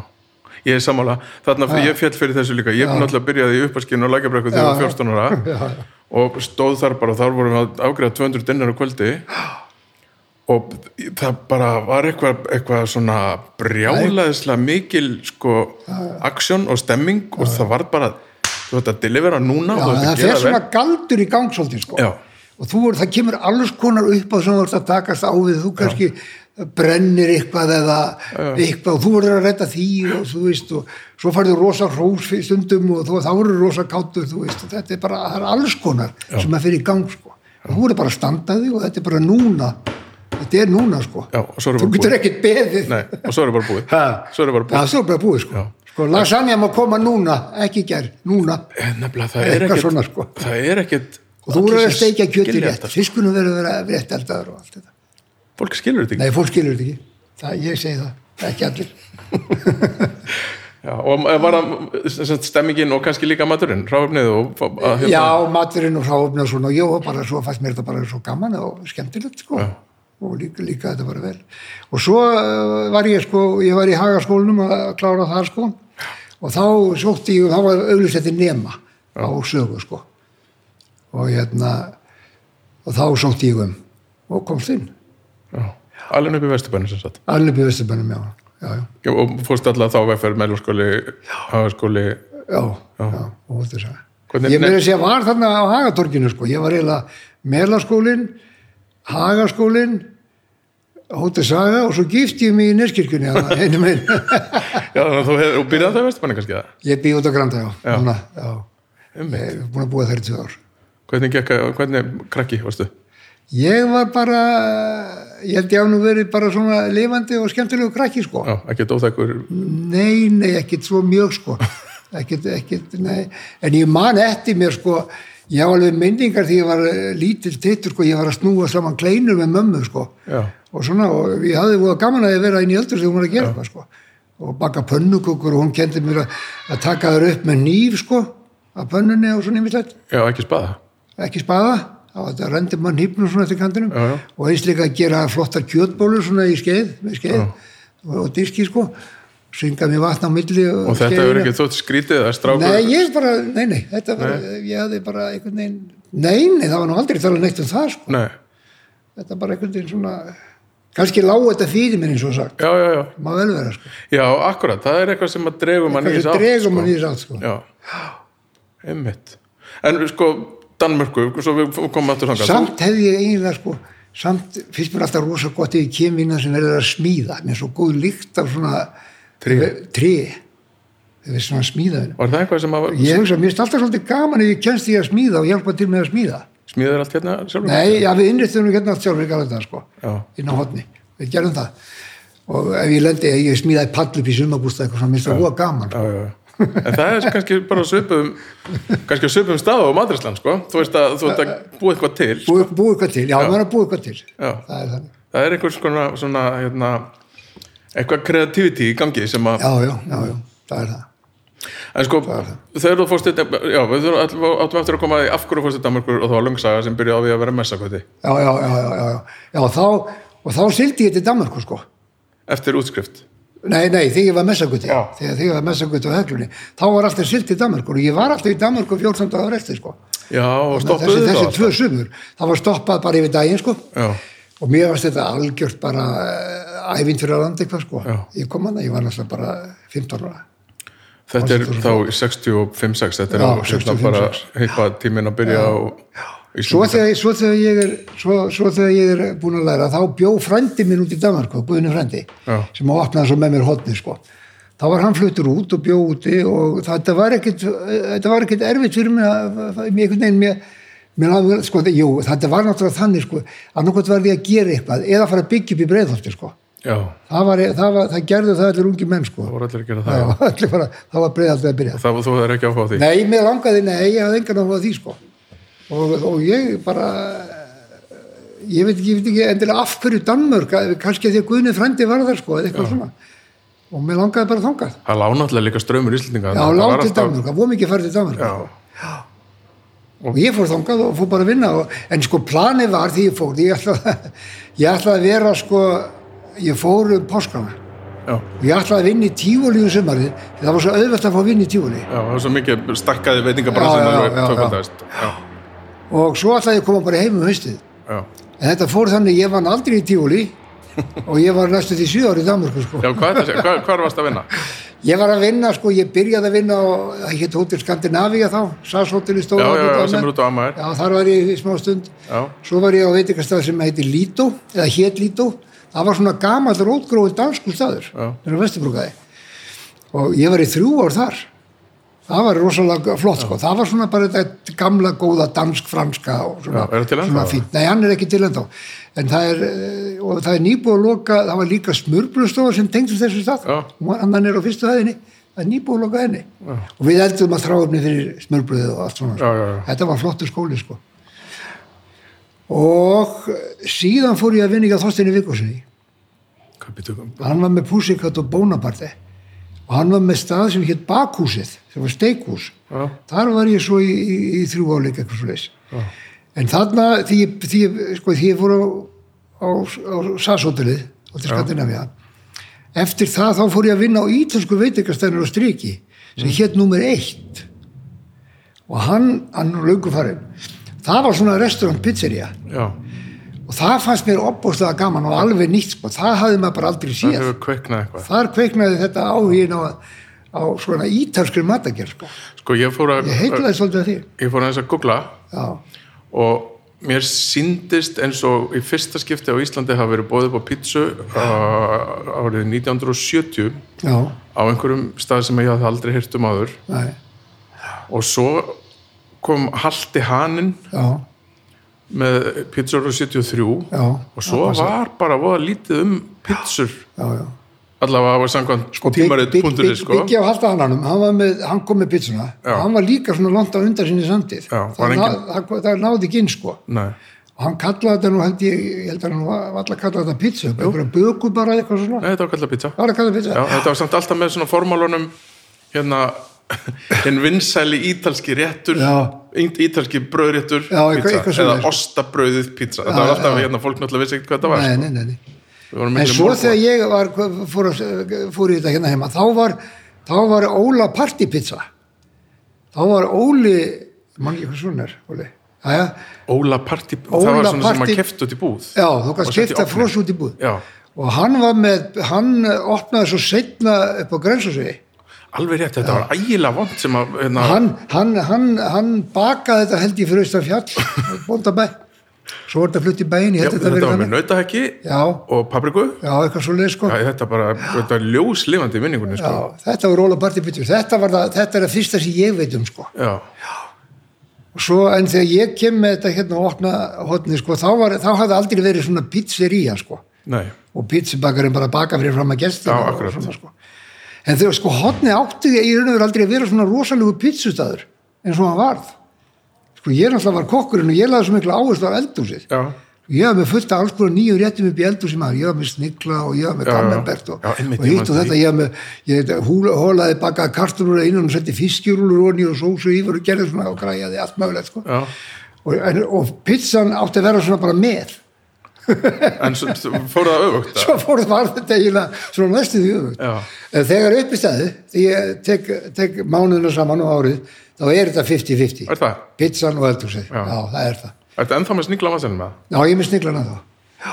Speaker 1: Ég er sammála, þarna ég féll fyrir þessu líka. Ég náttúrulega byrjaði í uppaskinu og lækjabrekku þegar ég var 14 ára.
Speaker 2: Já.
Speaker 1: og stóð þar bara og þar vorum við að afgreða 200 dinnar á kvöldi og það bara var eitthvað, eitthvað svona brjálaðislega mikil sko aksjón og stemming og það var bara þú veit að delivera núna
Speaker 2: Já,
Speaker 1: og þú
Speaker 2: það
Speaker 1: veit að
Speaker 2: fer
Speaker 1: gera
Speaker 2: svona
Speaker 1: vel
Speaker 2: galdur í gang svolítið sko
Speaker 1: Já.
Speaker 2: og þú, er- það kemur alls konar upp á sem þú ert að takast á við þú kannski brennir eitthvað eða eitthvað og þú verður að redda því og þú veist og svo færðu rosa hrós fyrir stundum og þú, þá verður rosa kátur þú veist og þetta er bara, það er alls konar sem að fyrir í gang sko og þú verður bara að standa þig og þetta er bara núna þetta er núna sko
Speaker 1: Já, og svo er
Speaker 2: þú
Speaker 1: bara
Speaker 2: getur
Speaker 1: búið.
Speaker 2: ekkert beðið
Speaker 1: Nei, og svo er það bara búið
Speaker 2: Ha?
Speaker 1: svo er það bara
Speaker 2: Já,
Speaker 1: búið
Speaker 2: svo er bara búið sko.
Speaker 1: Já.
Speaker 2: sko lasagna má koma núna, ekki í gær, núna.
Speaker 1: En nefnilega það er
Speaker 2: Eitthvað
Speaker 1: ekkit
Speaker 2: svona, sko.
Speaker 1: það er ekkit
Speaker 2: Og þú verður
Speaker 1: allir
Speaker 2: að
Speaker 1: sem
Speaker 2: steikja kjöti
Speaker 1: skilja
Speaker 2: rétt,
Speaker 1: þetta.
Speaker 2: fiskunum verður að vera rétt eldaður og allt þetta.
Speaker 1: fólk skilur þetta ekki
Speaker 2: Nei, fólk skilur þetta ekki. Það, ég segi það, ekki allir.
Speaker 1: Já, og eh, var það sem sagt, stemmingin og kannski líka maturinn ráfnið og að, hérna-
Speaker 2: Já, maturinn og hráöfni og svona, já, og bara svo fannst mér þetta bara svo gaman og skemmtilegt, sko. Og líka, líka þetta bara vel. Og svo eh, var ég, sko, ég var í hagaskólinum að klára þar, sko. Og þá sótti ég, þá var auðvitað þetta nema á sögu, sko. Og hérna, og þá sótti ég um og komst inn.
Speaker 1: já, alveg upp í vesturbænum sem sagt
Speaker 2: Allir byrði Vesturbanum, já, já, já.
Speaker 1: Já, og fórst alltaf þá vegferð meðlaskóli, hagaskóli
Speaker 2: já, já, og þetta er það.
Speaker 1: Hvernig-
Speaker 2: ég meira að segja var þarna á Hagatorginu sko, ég var eiginlega Melaskólin, Hagaskólin, Hóti Saga og svo gifti ég mig í Neskirkjunni þarna, einu megin.
Speaker 1: já, þannig að þú hefur, og byrjaði það í vesturbænum kannski það
Speaker 2: ég býði út á Granda, já,
Speaker 1: Já.
Speaker 2: Núna, já.
Speaker 1: Einmitt.
Speaker 2: Ég er búin að búa þær í tvö ár.
Speaker 1: hvernig, gekk, að- hvernig krakki, varstu?
Speaker 2: Ég var bara, ég held ég á nú verið bara svona lifandi og skemmtilegu krakki sko.
Speaker 1: Já, ekki dóþækur
Speaker 2: Nei, nei, ekkert svo mjög sko ekkert, ekkert, nei en ég man eftir mér sko ég á alveg minningar því ég var eh, lítill tittur sko, ég var að snúa saman kleinur með mömmu sko
Speaker 1: Já.
Speaker 2: og svona, og ég hafði voða gaman að ég vera inn í öldur þegar hún var að gera eitthvað sko og baka pönnukukur og hún kendi mér að, að taka þær upp með nýf sko að pönnunni og svona yfirleitt
Speaker 1: já, ekki spaða
Speaker 2: ekki spaða þá þetta rendi mann hýpnum svona eftir kantinum
Speaker 1: Já, já.
Speaker 2: og eins líka að gera flottar kjötbólur svona í skeið, með skeið og, og diski sko syngað mér vatn á milli hérna.
Speaker 1: Og þetta hefur ekki þótt skrítið að strákur
Speaker 2: Nei, ég bara, nei, nei, þetta var, ég hafði bara einhvern veginn, nei, nei, það var nú aldrei talað neitt um það, sko,
Speaker 1: Nei,
Speaker 2: þetta bara einhvern veginn svona, kannski lág þetta fyrir mér eins og sagt,
Speaker 1: já, já, já
Speaker 2: má vel vera, sko,
Speaker 1: Já, akkurat, það er eitthvað sem að dregum mann í
Speaker 2: kannski
Speaker 1: þess átt
Speaker 2: dregum
Speaker 1: sko.
Speaker 2: mann í þess átt, sko.
Speaker 1: Já, einmitt En sko, Danmörku, svo við komum aftur þangað
Speaker 2: Samt hefði ég eiginlega, sko, samt finnst mér alltaf rosa gott ef ég kem inn að sem verður að smíða, mér er svo góð líkt af svona
Speaker 1: Tré.
Speaker 2: tré, þegar svona smíðaðinu.
Speaker 1: Var það eitthvað sem að
Speaker 2: Ég hugsa, mér finnst alltaf svolítið gaman ef ég kennst því að smíða og hjálpa til með að smíða.
Speaker 1: smíðir allt hérna sjálfur?
Speaker 2: Nei, já, við innrýttunum hérna allt sjálfur í galvita, sko,
Speaker 1: Já.
Speaker 2: inn á hotni. Við gerðum það. Og ef ég lendi, ég smíðaði pall upp í sumabústa eitthvað svona, mér finnst það góða gaman. sko.
Speaker 1: já, já. En það er kannski bara á svipum kannski á svipum stað á Madrisland sko. þú veist að þú ert að búa eitthvað til
Speaker 2: Búið, búið eitthvað til, já, maður er að búið eitthvað til.
Speaker 1: Já.
Speaker 2: Það er þannig.
Speaker 1: það er einhvers konar svona hérna, eitthvað kreativiti í gangi sem að,
Speaker 2: Já, já, já, já, það er það.
Speaker 1: en sko þegar þú fórst þetta, já við þurfum ætlum- áttum eftir að koma að því af hverju fórst þetta mörgur og það var löngsaga sem byrjaði á því að vera messakvöti
Speaker 2: Já, já, já, já, já, já. já þá, og þá sildi ég til Danmarku, sko.
Speaker 1: eftir útskrift
Speaker 2: Nei, nei, þegar ég var messagutti,
Speaker 1: Já.
Speaker 2: þegar, þegar ég var messagutti á heglunni, þá var alltaf silt til Danmarku og ég var alltaf í Danmarku 14 dagar eftir, sko.
Speaker 1: já og
Speaker 2: þessi,
Speaker 1: stoppuðu
Speaker 2: þessi
Speaker 1: þetta
Speaker 2: tvö sumur, það var stoppað bara yfir daginn sko
Speaker 1: Já.
Speaker 2: og mér varst þetta algjört bara æfint fyrir að landa eitthvað sko
Speaker 1: Já.
Speaker 2: ég kom hana, ég var náttúrulega bara 15 ára
Speaker 1: þetta er þá í 65-6 þetta er
Speaker 2: Já,
Speaker 1: já,
Speaker 2: 65,
Speaker 1: bara heipa tíminn að byrja og,
Speaker 2: svo þegar, svo, þegar ég er, svo, svo þegar ég er búin að læra þá bjó frændi minn út í Danmarku, Guðni frændi
Speaker 1: Já.
Speaker 2: sem að opnaði svo með mér hotni sko þá var hann fluttur út og bjó úti og þetta var ekkit, þetta var ekkit erfitt fyrir mér að, að- að- mér einhvern veginn mér, mér að, sko, þe- jú, þetta var náttúrulega þannig sko, að nokkuð var því að gera eitthvað eða fara að byggja upp í breiðholti sko
Speaker 1: já,
Speaker 2: það, var, það, var, það gerðu það allir ungi menn sko
Speaker 1: það voru allir að gera það
Speaker 2: það var, allir bara, það var breiðholti að byrja
Speaker 1: og það var þú hefur ekki áhuga á því
Speaker 2: Nei, mér langaði, nei, ég hafði engan áhuga á því sko og, og ég bara ég veit ekki, ég veit ekki endilega af hverju Danmörk að- kannski því að Guðni frændi var það sko eða eitthvað svona og mér langaði bara þangað
Speaker 1: það lág náttúrulega líka strömmur íslendinga
Speaker 2: Já,
Speaker 1: þarna. Það var
Speaker 2: lág til
Speaker 1: alltaf-
Speaker 2: Danmörk, það voru mikið farið til Danmörk
Speaker 1: Já.
Speaker 2: og ég fór þangað og fór bara að vinna og, en sko planið var því ég fór ég ætlaði, ég ætlaði að vera sko ég fór um páskana
Speaker 1: Já,
Speaker 2: og ég ætlaði að vinna í tífóli um sumarið því það var svo auðvelt að fá að vinna í tífóli
Speaker 1: já, það var svo mikið stakkaði veitingabransin
Speaker 2: Já, já,
Speaker 1: alveg
Speaker 2: já, já.
Speaker 1: tvöfaldast. Já,
Speaker 2: og svo ætlaði ég að koma bara heim um haustið
Speaker 1: já.
Speaker 2: En þetta fór þannig, ég vann aldrei í tífúli og ég var næstu því sjö ári í Danmörku sko.
Speaker 1: Já, hvað er það? Hvað, hvað varst að vinna?
Speaker 2: Ég var að vinna, sko, ég byrjaði að vinna á, það hétt Hotel Skandinavia þá, SAS Hotel í
Speaker 1: Já,
Speaker 2: Stóra.
Speaker 1: já, já, sem er út á Amager.
Speaker 2: Já, þar var ég í smá stund.
Speaker 1: Já.
Speaker 2: Svo var ég á veitingastað sem heitir Lido, eða hétt Lido. Það var svona gamall rótgróin dansku staður,
Speaker 1: Já.
Speaker 2: þegar Vesturbrúkaði. Og ég var í þrjú ár þar. Það var rosalega flott, sko. Það var svona bara þetta gamla, góða dansk-franska og svona,
Speaker 1: Já, er það til ennþá?
Speaker 2: svona fínt. Nei, hann er ekki til ennþá. En það er, eh, og það er nýbúið að loka, það var líka smörbröðstofa sem tengdist þessu stað.
Speaker 1: Já.
Speaker 2: Hún var annan er á fyrstu hæðinni, það er nýbúið að loka henni. Og við eldum að þráfni fyrir smörbröðu og allt svona. sko.
Speaker 1: Já, já, já.
Speaker 2: Þetta var flottur skóli, sko. Og síðan fór ég að vinna ekki á Þorstinni Vikursinni.
Speaker 1: Hvað býttu?
Speaker 2: Hann var með Pussycat og Bonaparte. Og hann var með stað sem hétt Bakhúsið, sem var steikhús.
Speaker 1: Já,
Speaker 2: Þar var ég svo í, í, í þrjú áleik eitthvað svo leys. En þarna, því ég, því ég, sko, því ég fór á, á, á SAS-hótelið og til Skandinavia, eftir það þá fór ég að vinna á ítölsku veitingastæðnir og striki sem
Speaker 1: Mm.
Speaker 2: hétt nummer eitt. Og hann, hann er löngu farinn. Það var svona restaurant pizzeria
Speaker 1: já.
Speaker 2: og það fannst mér opbóðslega gaman og alveg nýtt sko. Það hafði maður bara aldrei
Speaker 1: Það
Speaker 2: séð.
Speaker 1: hefur kveiknað eitthvað.
Speaker 2: Þar kveiknaði þetta áhugin á, á svona ítalskri matagerð sko.
Speaker 1: Sko, ég fór að,
Speaker 2: Ég heitlaði svolítið að því.
Speaker 1: ég fór aðeins að googla
Speaker 2: Já,
Speaker 1: og mér síndist eins og í fyrsta skipti á Íslandi hafa verið bóðið upp á pítsu uh, árið 1970
Speaker 2: já,
Speaker 1: á einhverjum stað sem ég hafði aldrei heyrt um áður
Speaker 2: nei,
Speaker 1: og svo kom Halti Haninn
Speaker 2: já,
Speaker 1: með pizzur á 73
Speaker 2: já,
Speaker 1: og svo var bara voða lítið um pizzur
Speaker 2: já, já.
Speaker 1: allavega var samkvæmt sko,
Speaker 2: Bygg- bygg-
Speaker 1: tímarit.is
Speaker 2: bygg-
Speaker 1: sko.
Speaker 2: Byggi á haldahananum, hann, var með, hann kom með pizzuna,
Speaker 1: Já.
Speaker 2: hann var líka svona langt á undan sinni samtíð.
Speaker 1: Já, var
Speaker 2: það, ná,
Speaker 1: engin-
Speaker 2: það, það náði ekki inn sko.
Speaker 1: Nei.
Speaker 2: Og hann kallaði þetta nú, held ég, ég held að hann var alltaf kallaði þetta pizza, bara einhverja böku bara eða eitthvað svona.
Speaker 1: Nei, þetta var kallað pizza
Speaker 2: Það var að kalla pizza.
Speaker 1: Já, þetta var samt alltaf með svona formálunum hérna hinn vinsæli ítalski réttur
Speaker 2: Já.
Speaker 1: ít- ítalski bröðréttur
Speaker 2: Já, eitthvað-
Speaker 1: pizza
Speaker 2: eitthvað
Speaker 1: eða
Speaker 2: svoleiðis.
Speaker 1: ostabröðið pizza þetta var alltaf
Speaker 2: já.
Speaker 1: hérna fólk náttúrulega vissi ekkert hvað þetta var
Speaker 2: Nei,
Speaker 1: sko.
Speaker 2: nei, nei, nei.
Speaker 1: Við vorum
Speaker 2: en
Speaker 1: miklu
Speaker 2: svo
Speaker 1: morgun.
Speaker 2: þegar ég var, fór, að- fór í þetta hérna heima þá var, þá var Óla partypizza þá var Óli mann ekki hvað svona er Óli Æja,
Speaker 1: Óla Party, það
Speaker 2: Óla
Speaker 1: var svona sem
Speaker 2: Party-
Speaker 1: maður keft út í búð
Speaker 2: já, þú
Speaker 1: Og
Speaker 2: kannski
Speaker 1: sett í
Speaker 2: keifta
Speaker 1: ofninn.
Speaker 2: frós út í búð
Speaker 1: Já,
Speaker 2: og hann var með hann opnaði svo setna upp á grensasegi
Speaker 1: alveg rétt, þetta var ægilega vond sem að, hérna,
Speaker 2: hann, hann, hann, hann bakaði þetta held ég fyrir austan fjall bóndabæ svo var þetta flutt í bæin
Speaker 1: já,
Speaker 2: þetta,
Speaker 1: þetta var með
Speaker 2: þannig.
Speaker 1: nautahekki
Speaker 2: já,
Speaker 1: og papriku
Speaker 2: já, eitthvað svo leið sko
Speaker 1: Já, þetta er bara, þetta er ljóslifandi í minningunni,
Speaker 2: já,
Speaker 1: sko.
Speaker 2: þetta var Óla partypizza þetta, var það, þetta er það fyrsta sem ég veit um sko
Speaker 1: Já.
Speaker 2: Og svo, en þegar ég kem með þetta hérna og opna hotni sko, þá, var, þá hafði aldrei verið svona pizzería sko.
Speaker 1: Nei.
Speaker 2: og pizzabakarinn bara baka fyrir fram að gestina
Speaker 1: Já,
Speaker 2: og
Speaker 1: akkurat.
Speaker 2: svona, sko. en þegar sko hotni átti í raun og veru aldrei að vera svona rosalegu pizzustæður eins og hann varð sko ég náttúrulega var kokkurinn og ég laði svo mikla áherslu á eldhúsið
Speaker 1: Já.
Speaker 2: ég var með fullt af alls konar nýju réttum upp í eldhúsi maður, ég var með snigla og ég var með
Speaker 1: Já, já.
Speaker 2: gammelbert og,
Speaker 1: Já, einmitt,
Speaker 2: og
Speaker 1: ég
Speaker 2: hitt
Speaker 1: man eftir
Speaker 2: og þetta, ég var með ég húla, hólaði bakað kartunur innan og setti fiskjúrúlur onni og sósu yfir og gerði svona og græjaði allt mögulegt sko.
Speaker 1: Já.
Speaker 2: og, en, og pizzan átti að vera svona bara með
Speaker 1: En svo svo fór það öfugt.
Speaker 2: svo fór það var þetta eiginlega svona næstu því öfugt
Speaker 1: Já.
Speaker 2: en þegar uppistæðu, þegar ég tek, tek mánuðina saman og árið þá er þetta 50-50,
Speaker 1: Er það?
Speaker 2: pizzan og eldhúsið
Speaker 1: Já.
Speaker 2: já, það er það
Speaker 1: Er þetta ennþá með snigla vasanum með?
Speaker 2: Já, ég er með sniglana þá. Já.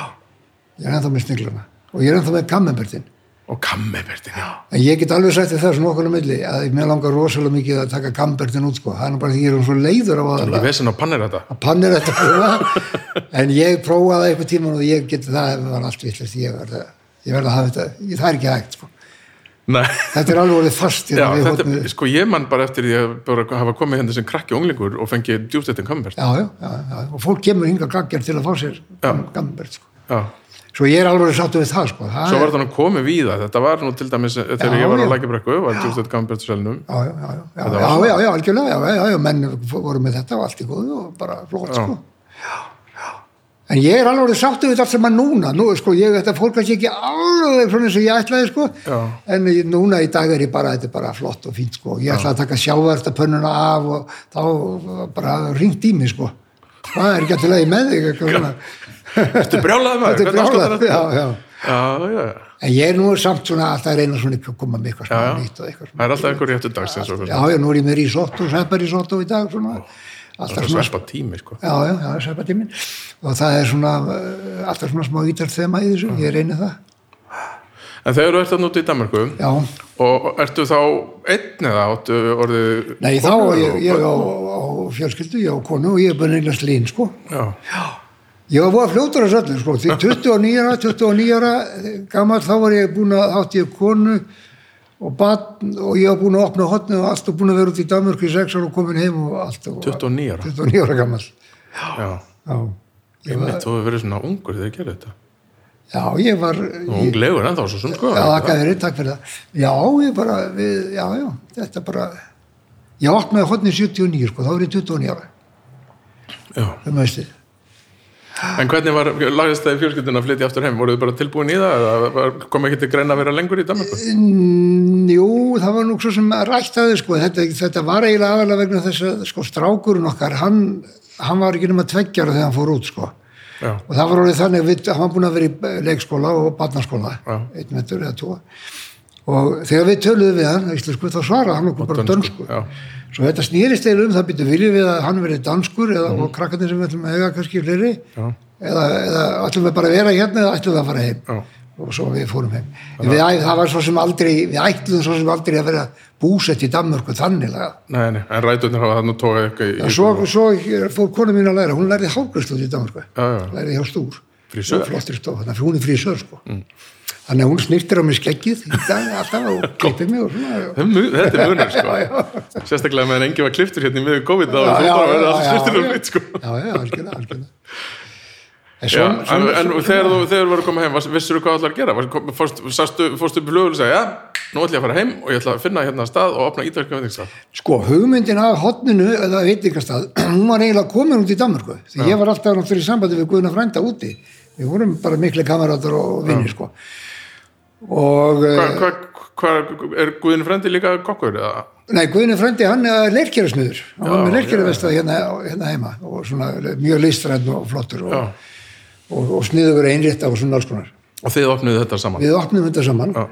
Speaker 2: Ég er ennþá með sniglana. Og ég er ennþá með kammerbertin.
Speaker 1: Og kammebertin, já.
Speaker 2: En ég get alveg sagt þér það svona okkur á milli að mér langar rosalega mikið að taka kammerbertin út sko. Það er nú bara því ég er svo leiður á
Speaker 1: Ég
Speaker 2: að
Speaker 1: vesin á pannir þetta.
Speaker 2: að pannir þetta prófa. en ég prófaði það eitthvað tíman og ég get það var allt vittlust. Ég verða ég verð að hafa þetta. Ég, það er ekki hægt sko.
Speaker 1: Nei.
Speaker 2: Þetta er alveg orðið fast
Speaker 1: Já,
Speaker 2: hérna við
Speaker 1: þetta,
Speaker 2: hóttinu.
Speaker 1: sko ég mann bara eftir því að bara hafa komið hérna sem krakki og unglingur og fengið djúftettin kammebert.
Speaker 2: Já, já, já, já. Og fólk kemur hinga gaggar til að fá sér
Speaker 1: Já.
Speaker 2: kammerbert sko.
Speaker 1: Já.
Speaker 2: Svo ég er alveg sáttu við það sko. Það
Speaker 1: Svo
Speaker 2: er-
Speaker 1: var þannig komið víða. Þetta var nú til dæmis eh, þegar
Speaker 2: Já,
Speaker 1: ég var á
Speaker 2: já.
Speaker 1: Lækjabrekku, var djúftettin kammebert selnum.
Speaker 2: já, já, já, já,
Speaker 1: Þetta var
Speaker 2: já,
Speaker 1: svona.
Speaker 2: já, já, algjörlega, já, já, já, menn voru með þetta og allt í góðu og bara flott,
Speaker 1: Já.
Speaker 2: sko. Já, já. En ég er alveg orðið sáttu við þetta allt saman núna, nú, sko, ég, þetta fólk kannski ekki alveg svona eins og ég ætlaði, sko,
Speaker 1: Já.
Speaker 2: en ég- núna í dag er ég bara, þetta er bara flott og fínt, sko, ég ætlaði að taka sjávarta pönnuna af og þá var bara ringt í mig, sko, það er ekki alltaf leið með þig, eitthvað svona,
Speaker 1: Þetta er brjálaði maður.
Speaker 2: þetta er
Speaker 1: hvernig afskapar
Speaker 2: brálað, já, já.
Speaker 1: þetta? Já, já.
Speaker 2: En ég er nú samt svona alltaf að reyna svona að koma með eitthvað
Speaker 1: Já,
Speaker 2: svona
Speaker 1: já.
Speaker 2: nýtt og eitthvað svona.
Speaker 1: Það er alltaf einhver réttu dags eins og
Speaker 2: Já, já, nú er ég með risotto, svepparisotto í dag svona, alltaf svona
Speaker 1: sveppa tími, sko.
Speaker 2: já, já, já, sveppatímin og það er svona, eh, alltaf svona smá ítar þema í þessu, ég reyni það
Speaker 1: En þegar þú ert að núti í Danmarku,
Speaker 2: Já,
Speaker 1: Og ertu þá einn eða áttu orðið...
Speaker 2: nei, þá
Speaker 1: konur
Speaker 2: ég,
Speaker 1: og-
Speaker 2: ég á, á fjölskyldu, ég á konu og ég er búin eignast lín, sko
Speaker 1: Já,
Speaker 2: Ég var búin að fljóta þessu öllu, sko því 29 ára, 29 ára gammal, þá var ég búin að átti ég konu og batn og ég var búin að opna hotnið og allt og búin að vera út í Danmörku í sex ára og komin heim og allt og
Speaker 1: 29 ára.
Speaker 2: 29 ára gammal,
Speaker 1: Já,
Speaker 2: já Ég var,
Speaker 1: einmitt, þú hefur verið svona ungur þegar ég gerði þetta.
Speaker 2: já, ég var
Speaker 1: Þú unglegur ennþá svo sum, sko.
Speaker 2: Já, þakka þér, takk fyrir það. Já, ég bara, við, já, já, þetta bara, ég opnaði hodni 79, sko, þá er ég 29 ára,
Speaker 1: Já.
Speaker 2: um haustið.
Speaker 1: En hvernig var, lagðist það í fjölskyldun að flytja aftur heim? Voruð þið bara tilbúin í það? Eða var- kom ekki til greina að vera lengur í Danmarku?
Speaker 2: Mm, Jú, það var nú svo sem rætt að þið, sko, þetta, þetta var eiginlega aðalega vegna þess að, sko, strákurinn okkar, hann, hann var ekki nema tveggjara þegar hann fór út, sko.
Speaker 1: Já,
Speaker 2: Og það var orðið þannig, við, hann var búin að vera í leikskóla og barnaskóla,
Speaker 1: Já.
Speaker 2: einn metur eða tvo. Og þegar við töluðum við hann, á íslensku, þá svaraði hann okkur bara dönsku.
Speaker 1: Já,
Speaker 2: Svo þetta snýrist eiginlega um það býttu viljum við að hann verið danskur eða og krakkarnir sem við ætlum að eiga kannski fleiri
Speaker 1: Mhm. já,
Speaker 2: eða, eða ætlum við bara að vera hérna eða ætlum við að fara heim
Speaker 1: já.
Speaker 2: og svo við fórum heim. En Við, æ- það var svo sem aldrei, við ætlum svo sem aldrei að vera búsett í Danmörku þannig lagað.
Speaker 1: Nei, nei, en ræturnir hafa þannig tóið eitthvað í...
Speaker 2: En svo, svo fór konu mín að læra, hún lærði hálfgræslu í Danmörku,
Speaker 1: Já, já.
Speaker 2: lærði hjá Stúr.
Speaker 1: Frisör. Mm.
Speaker 2: Hún er Flottri stof, þannig að hún er frísör sko. Þannig að hún snýrtir á mig skeggið í dag alltaf og klippir mig og svona.
Speaker 1: Það er mu- Þetta er munur, sko. Sérstaklega meðan engi var kliftur hérna í miður COVID, þá
Speaker 2: Já,
Speaker 1: var þú
Speaker 2: já,
Speaker 1: bara að
Speaker 2: já,
Speaker 1: vera alls
Speaker 2: já,
Speaker 1: sluttir um
Speaker 2: já.
Speaker 1: mitt, sko.
Speaker 2: Já, já, algjörlega, algjörlega. En
Speaker 1: Já,
Speaker 2: svona-
Speaker 1: en,
Speaker 2: svona-
Speaker 1: en
Speaker 2: svona-
Speaker 1: þegar þú þegar þú voru að koma heim, vissur þú hvað ætlar að gera? Varst- kom- Fórst, sastu, fórst upp í flugul og sagði, já, nú ætla ég að fara heim og ég ætla að finna hérna stað og opna ítalska veitingstað.
Speaker 2: Sko, hugmyndin af hotninu, eða veitingastað, hún var eiginlega komin út í Danmörku. Því ég var alltaf náttúrulega í sambandi við Guðna Frænda úti. Við vorum bara mikli kameratar og vinnir, sko. Og,
Speaker 1: Hva,
Speaker 2: eh,
Speaker 1: hva, hva, er Guðin frendi líka kokkur? Eða?
Speaker 2: nei, Guðni Frændi, hann er leirkjærasmiður. Hann var
Speaker 1: Já,
Speaker 2: með leirkjærastað hérna, hérna heima og svona mjög listræðn og flottur og,
Speaker 1: Já,
Speaker 2: og, og sniður verið einrétt af og svona alls konar.
Speaker 1: og þið opnuðu þetta saman
Speaker 2: við opnum þetta saman
Speaker 1: Já.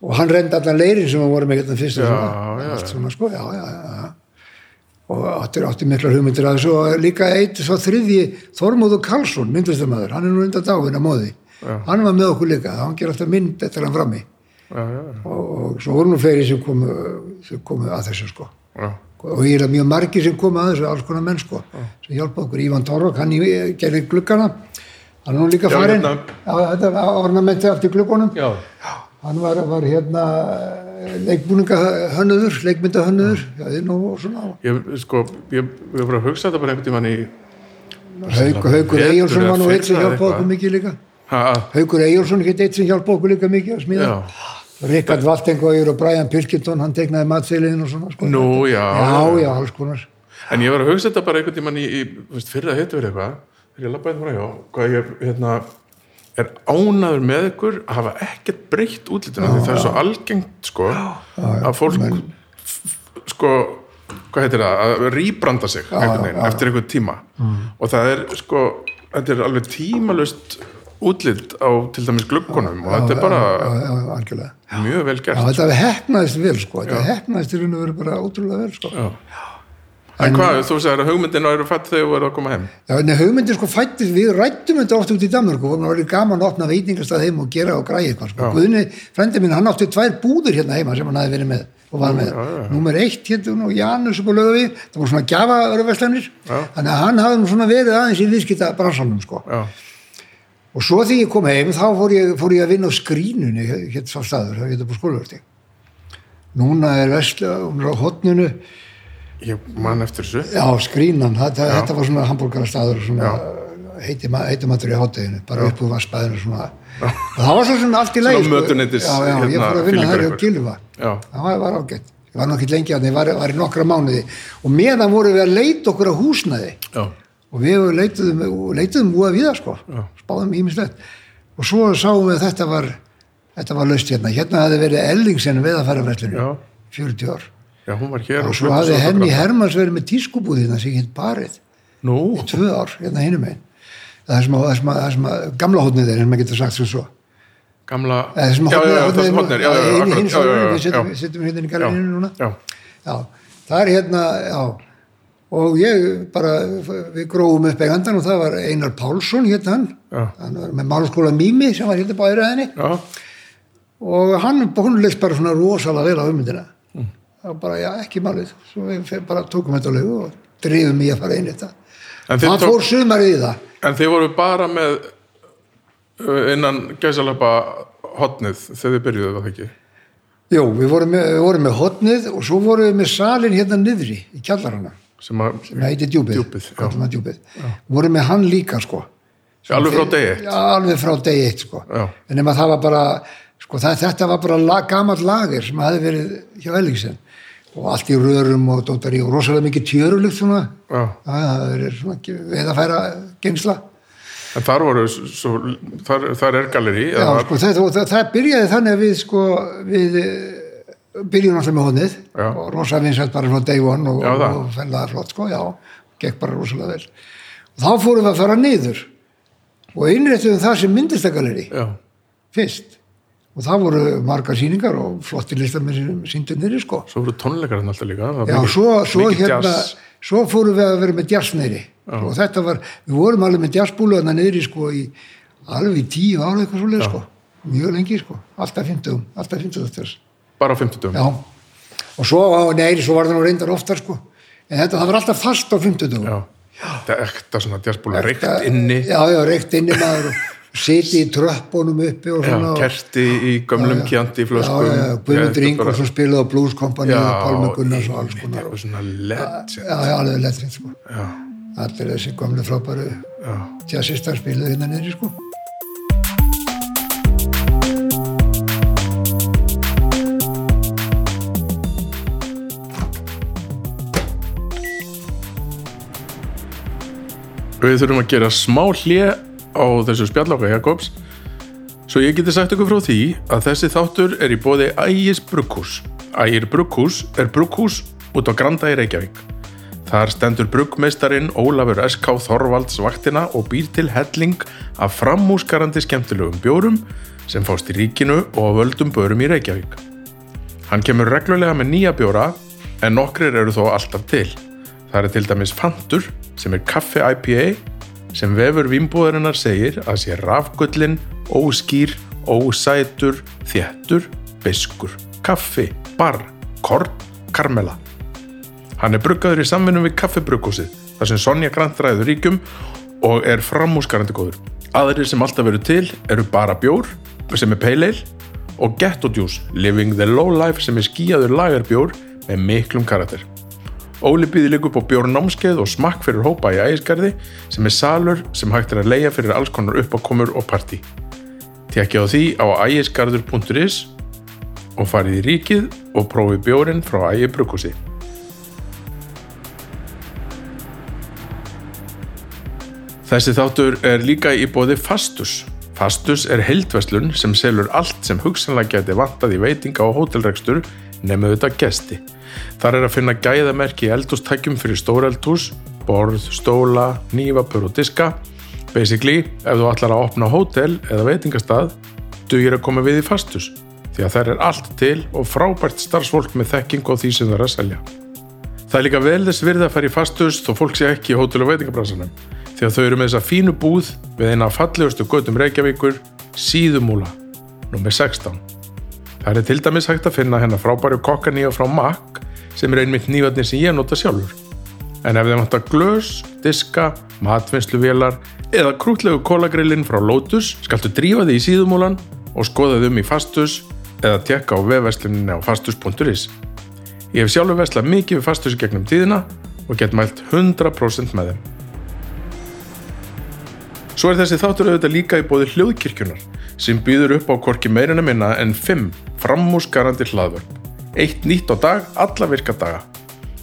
Speaker 2: og hann reyndi allan leirin sem við vorum ekkert að
Speaker 1: Já,
Speaker 2: fyrsta svona,
Speaker 1: já,
Speaker 2: allt
Speaker 1: já.
Speaker 2: svona sko, já, já, já, já. og áttir, áttir miklar hugmyndir að þessu og líka eitt svo þriðji Þormóður Karlsson, myndlistamæður hann er nú enda dáin að móði hann var með okkur líka, hann ger alltaf mynd eftir hann frammi
Speaker 1: já, já,
Speaker 2: og, og svo voru nú fleiri sem komu, sem komu að þessu sko
Speaker 1: já,
Speaker 2: og ég er að mjög margir sem koma að þessu alls konar menn sko, sem hjálpa okkur Ívan Torok, hann í- gerði gluggana hann er nú líka
Speaker 1: Já,
Speaker 2: farinn
Speaker 1: hérna.
Speaker 2: Já, þetta ornamenti allt í gluggunum
Speaker 1: já.
Speaker 2: hann var, var hérna leikbúningahönnuður, leikmyndahönnuður já, þið nú svona
Speaker 1: Ég, sko, ég, ég var að hugsa þetta bara einhvern tímann í
Speaker 2: Hauk, Haukur
Speaker 1: Betur
Speaker 2: Eyjálsson
Speaker 1: að
Speaker 2: var nú eitt sem
Speaker 1: fylla
Speaker 2: hjálpa
Speaker 1: eitthvað.
Speaker 2: okkur mikið líka
Speaker 1: ha,
Speaker 2: Haukur Eyjálsson hitt eitt sem hjálpa okkur líka mikið að smíða
Speaker 1: já,
Speaker 2: Rikard Valtengóður og Brian Pilkington hann tegnaði matseilin og svona sko.
Speaker 1: nú, já,
Speaker 2: já, já, alls konar
Speaker 1: en ég var að hugsa þetta bara einhvern tímann í, í þú veist, fyrir að hittu verið eitthvað þegar ég labbaði hérna frá hjá hvað ég hérna, er ánaður með ykkur að hafa ekkert breytt útlítuna því það er svo algengt sko, að fólk f- f- sko hvað heitir það, að rýbranda sig einhvern veginn, eftir einhvern tíma og það er sko, þetta er alveg tímalust útlít á til dæmis gluggunum og þetta er bara
Speaker 2: já, já, algjörlega
Speaker 1: mjög vel
Speaker 2: Já,
Speaker 1: gert
Speaker 2: þetta hefnaðist vel sko, þetta hefnaðist í raun og veru bara ótrúlega vel sko. Já,
Speaker 1: en hvað, þú segir að hugmyndin eru fætt þegar þú eru að koma heim
Speaker 2: en hugmyndir sko fættist, við rættum þetta oft út í Danmörku og það var gaman að opna veitingastað heim og gera og græja eitthvað sko.
Speaker 1: Já.
Speaker 2: Guðni, frendi minn, hann átti tvær búður hérna heima sem hann hafi verið með og var með.
Speaker 1: já, já.
Speaker 2: Númer eitt hérna og Janus upp á lögavi, það voru svona gjafa öruveslanir,
Speaker 1: Já.
Speaker 2: þannig að hann hafði nú svona verið aðeins í viðskita bransanum sko.
Speaker 1: já,
Speaker 2: Og svo þegar ég kom heim þá fór ég, fór ég að vinna á skrínunni hér svo staður, hér upp á skólaverti. Núna er vesla, hún er á hotninu,
Speaker 1: ég man eftir þessu
Speaker 2: já, skrínan, þetta, þetta var svona hambúrgarastaður, svona heiti, ma- heiti matur í hátteginu, bara upp úr vassbæðinu svona. Og það var svo svona allt í leið.
Speaker 1: Svona mötuneytis,
Speaker 2: Já, já, ég
Speaker 1: hérna,
Speaker 2: fór að vinna
Speaker 1: fílingur
Speaker 2: þar hjá
Speaker 1: ykkur.
Speaker 2: Gilva.
Speaker 1: já,
Speaker 2: Það var, var ágætt. Ég var nokkið lengi að ég var, var í nokkra mánuði. Og meðan vorum við að leita okkur að húsnaði
Speaker 1: já
Speaker 2: og við leituðum, leituðum úa við það sko, spáðum ímislegt og svo sáum við að þetta var þetta var laust hérna, hérna hafði verið Ellingsen við að fara verðlunni,
Speaker 1: Já.
Speaker 2: 40 ár
Speaker 1: Já, hún var hér
Speaker 2: og svo
Speaker 1: flutti
Speaker 2: hafði Henny
Speaker 1: autograf.
Speaker 2: Hermans verið með tískubúð hérna sem hitt barið,
Speaker 1: Nú,
Speaker 2: tvö ár hérna hinum einn, það sem að, það sem að, það sem að gamla hótnið er, en maður getur sagt sem svo
Speaker 1: gamla
Speaker 2: eða Eh, það sem
Speaker 1: Já, já, já,
Speaker 2: hótnið
Speaker 1: það sem hotnir Já, já, já,
Speaker 2: hinn, hinn,
Speaker 1: akkurat, já, já, já,
Speaker 2: eh, við setjum,
Speaker 1: já,
Speaker 2: setjum hérna í garðinu núna
Speaker 1: já,
Speaker 2: Já, það er hérna, já, og ég bara, við grófum upp eigandan og það var Einar Pálsson hérna hann,
Speaker 1: Já.
Speaker 2: hann var með málskóla Mimi sem var hérna bæðið henni
Speaker 1: já,
Speaker 2: og hann, hún leist bara svona rosalega vel á ummyndina.
Speaker 1: Mm.
Speaker 2: Það var bara, já, ekki málið, svo við fer- bara tókum þetta lögu og drifum í að fara inn í þetta.
Speaker 1: En þið
Speaker 2: Það
Speaker 1: tók-
Speaker 2: fór sumarið í það.
Speaker 1: En þið voru bara með uh, innan gæsalappa hotnið þegar þið byrjuðu var það ekki
Speaker 2: Jú, við vorum með, við vorum með hotnið og svo vorum við með salin hérna niðri í kjallarana.
Speaker 1: sem að,
Speaker 2: Það heiti djúpið.
Speaker 1: Djúpið, já.
Speaker 2: Kallum það djúpið. Vorum með hann líka, sko.
Speaker 1: alveg frá degi
Speaker 2: Já, alveg frá degi eitt sko.
Speaker 1: Já.
Speaker 2: en nema það var bara sko, það, þetta var bara lag, gamall lager sem hafði verið hjá Ellingsen og allt í rörum og dóttari og rosalega mikið tjörulykt svona
Speaker 1: Já.
Speaker 2: það hafði verið svona veið að færa gengsla
Speaker 1: En þar voru, s- svo, þar, þar er galeri
Speaker 2: Já,
Speaker 1: eða-
Speaker 2: sko, það, það, það byrjaði þannig að við sko, við eh, byrjum alltaf með honið
Speaker 1: Já.
Speaker 2: og rosa vinsætt bara frá day one og,
Speaker 1: Já, það.
Speaker 2: og fennilega flott sko, já, gekk bara rosalega vel og þá fórum við að fara niður og innréttum það sem myndistakaleri
Speaker 1: já,
Speaker 2: fyrst og það voru margar síningar og flotti listamenn sem síndu nýri sko
Speaker 1: svo voru tónleikarinn alltaf líka það var
Speaker 2: já,
Speaker 1: mikið-
Speaker 2: svo, svo
Speaker 1: mikið
Speaker 2: hérna
Speaker 1: jazz.
Speaker 2: svo fórum við að vera með djarsneyri og þetta var, við vorum alveg með djarsbúlu þarna niðri sko í alveg í tíu ára eitthvað svo leið sko, mjög lengi sko alltaf 50, alltaf 50 þess
Speaker 1: Bara á 50
Speaker 2: já, og svo, neiri, svo var það nú reyndar oftar sko, en þetta, það var alltaf fast á 50 dögum
Speaker 1: já Það er ekta svona djarsbúla reykt
Speaker 2: Þetta-
Speaker 1: inni
Speaker 2: já, já, reykt inni maður og siti í tröppunum uppi og
Speaker 1: já,
Speaker 2: svona og-
Speaker 1: kerti í gömlum kjandi flöskum
Speaker 2: já, já, já, Guðmundur
Speaker 1: Þetta bara-
Speaker 2: Ingvarsson spilaði á Blues Company og Pálmi Gunnars og
Speaker 1: Þetta
Speaker 2: alls
Speaker 1: er
Speaker 2: konar
Speaker 1: eitthvað svona legend
Speaker 2: já, já, alveg letrið sko já. allir þessi gamlu frábæru jazzistar spilaði hérna niður sko
Speaker 1: Við þurfum að gera smá hlje á þessu spjalláka Jakobs svo ég geti sagt ykkur frá því að þessi þáttur er í bóði Ægis Brugghús. Ægir Brugghús er brugghús út á Granda í Reykjavík. Þar stendur bruggmeistarinn Ólafur S.K. Þorvalds vaktina og býr til helling af framúskarandi skemmtilegum bjórum sem fást í ríkinu og á völdum börum í Reykjavík. Hann kemur reglulega með nýja bjóra en nokkrir eru þó alltaf til. Það er til dæmis Fantur sem er kaffi IPA sem vefur vimbúðarinnar segir að sé rafgullin, óskýr, ósætur, þéttur, biskur, kaffi, bar, korn, karmela. Hann er bruggaður í samvinnum við kaffibrugghúsið þar sem Sonja Grant ræður ríkjum og er framúskarandi góður. Aðrir sem alltaf eru til eru bara bjór sem er pale ale og Ghetto Juice Living the Low Life sem er skíjaður lagarbjór með miklum karakter. Óli býði líka upp á bjór námskeið og smakk fyrir hópa í ægisgarði sem er salur sem hægt er að leia fyrir alls konar uppákomur og partí. Tekja á því á ægisgarður.is og farið í ríkið og prófið bjórinn frá ægi brukusi. Þessi þáttur er líka í bóði Fastus. Fastus er heildverslun sem selur allt sem hugsanlega geti vantað í veitinga og hótelrekstur nefnum þetta gesti. Þar er að finna gæðamerki í eldústækjum fyrir stóreldhús, borð, stóla, nývapur og diska. Basically, ef þú ætlar að opna hótel eða veitingastað, dugir að koma við í Fastus því að þær er allt til og frábært starfsfólk með þekking og því sem það er að selja. Það er líka vel þess virði að fara í fastus þó fólk sé ekki í hótel og veitingabransanum því að þau eru með þessa fínu búð við eina af fallegustu götum Reykjavíkur síðumúla, nummer 16. Það er til dæmis hægt að finna hennar frábæru kokkanýja frá Mack sem er einmitt nývatni sem ég nota sjálfur. En ef þeim hægt að glös, diska, matvinnsluvélar eða krútlegu kólagrillin frá Lotus skaltu drífa því í síðumúlan og skoða þau um í fastus eða tekka á vefversluninni á fastus.is. Ég hef sjálfur veslað mikið við fastus í gegnum tíðina og get mælt 100% með þeim. Svo er þessi þáttur auðvitað líka í bóði hljóðkirkjunar sem býður upp á korki meirina minna en 5 framúsgarandi hlaðvörp. Eitt nýtt á dag, alla virka daga.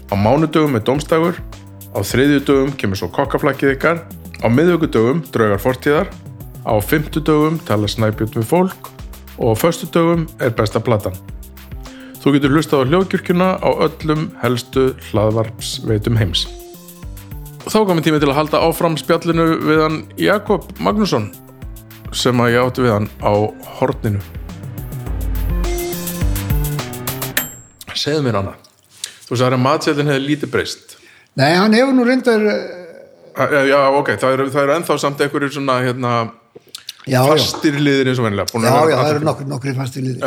Speaker 1: Á mánudögum er domstagur, á þriðjudögum kemur svo kokkaflakkið ykkar, á miðugudögum draugar fortíðar, á fymtudögum tala snæpjút við fólk og á föstudögum er besta platan. Þú getur hlustað á hljóðkirkjuna á öllum helstu hlaðvarpsveitum heims. Þá komið tími til að halda áfram spjallinu við hann Jakob Magnússon sem að ég átti við hann á horninu. Segðu mér hana. Þú sagði að matseldin hefði lítið breyst.
Speaker 2: Nei, hann hefur nú reyndar eh,
Speaker 1: Eh, Já, ok, það eru, það eru ennþá samt einhverjir svona hérna,
Speaker 2: já, já,
Speaker 1: fastir liðir eins og vennilega. búnir
Speaker 2: já,
Speaker 1: að vera
Speaker 2: já, það
Speaker 1: alla
Speaker 2: eru
Speaker 1: tíð.
Speaker 2: nokkri, nokkri
Speaker 1: Já.
Speaker 2: fastir liðir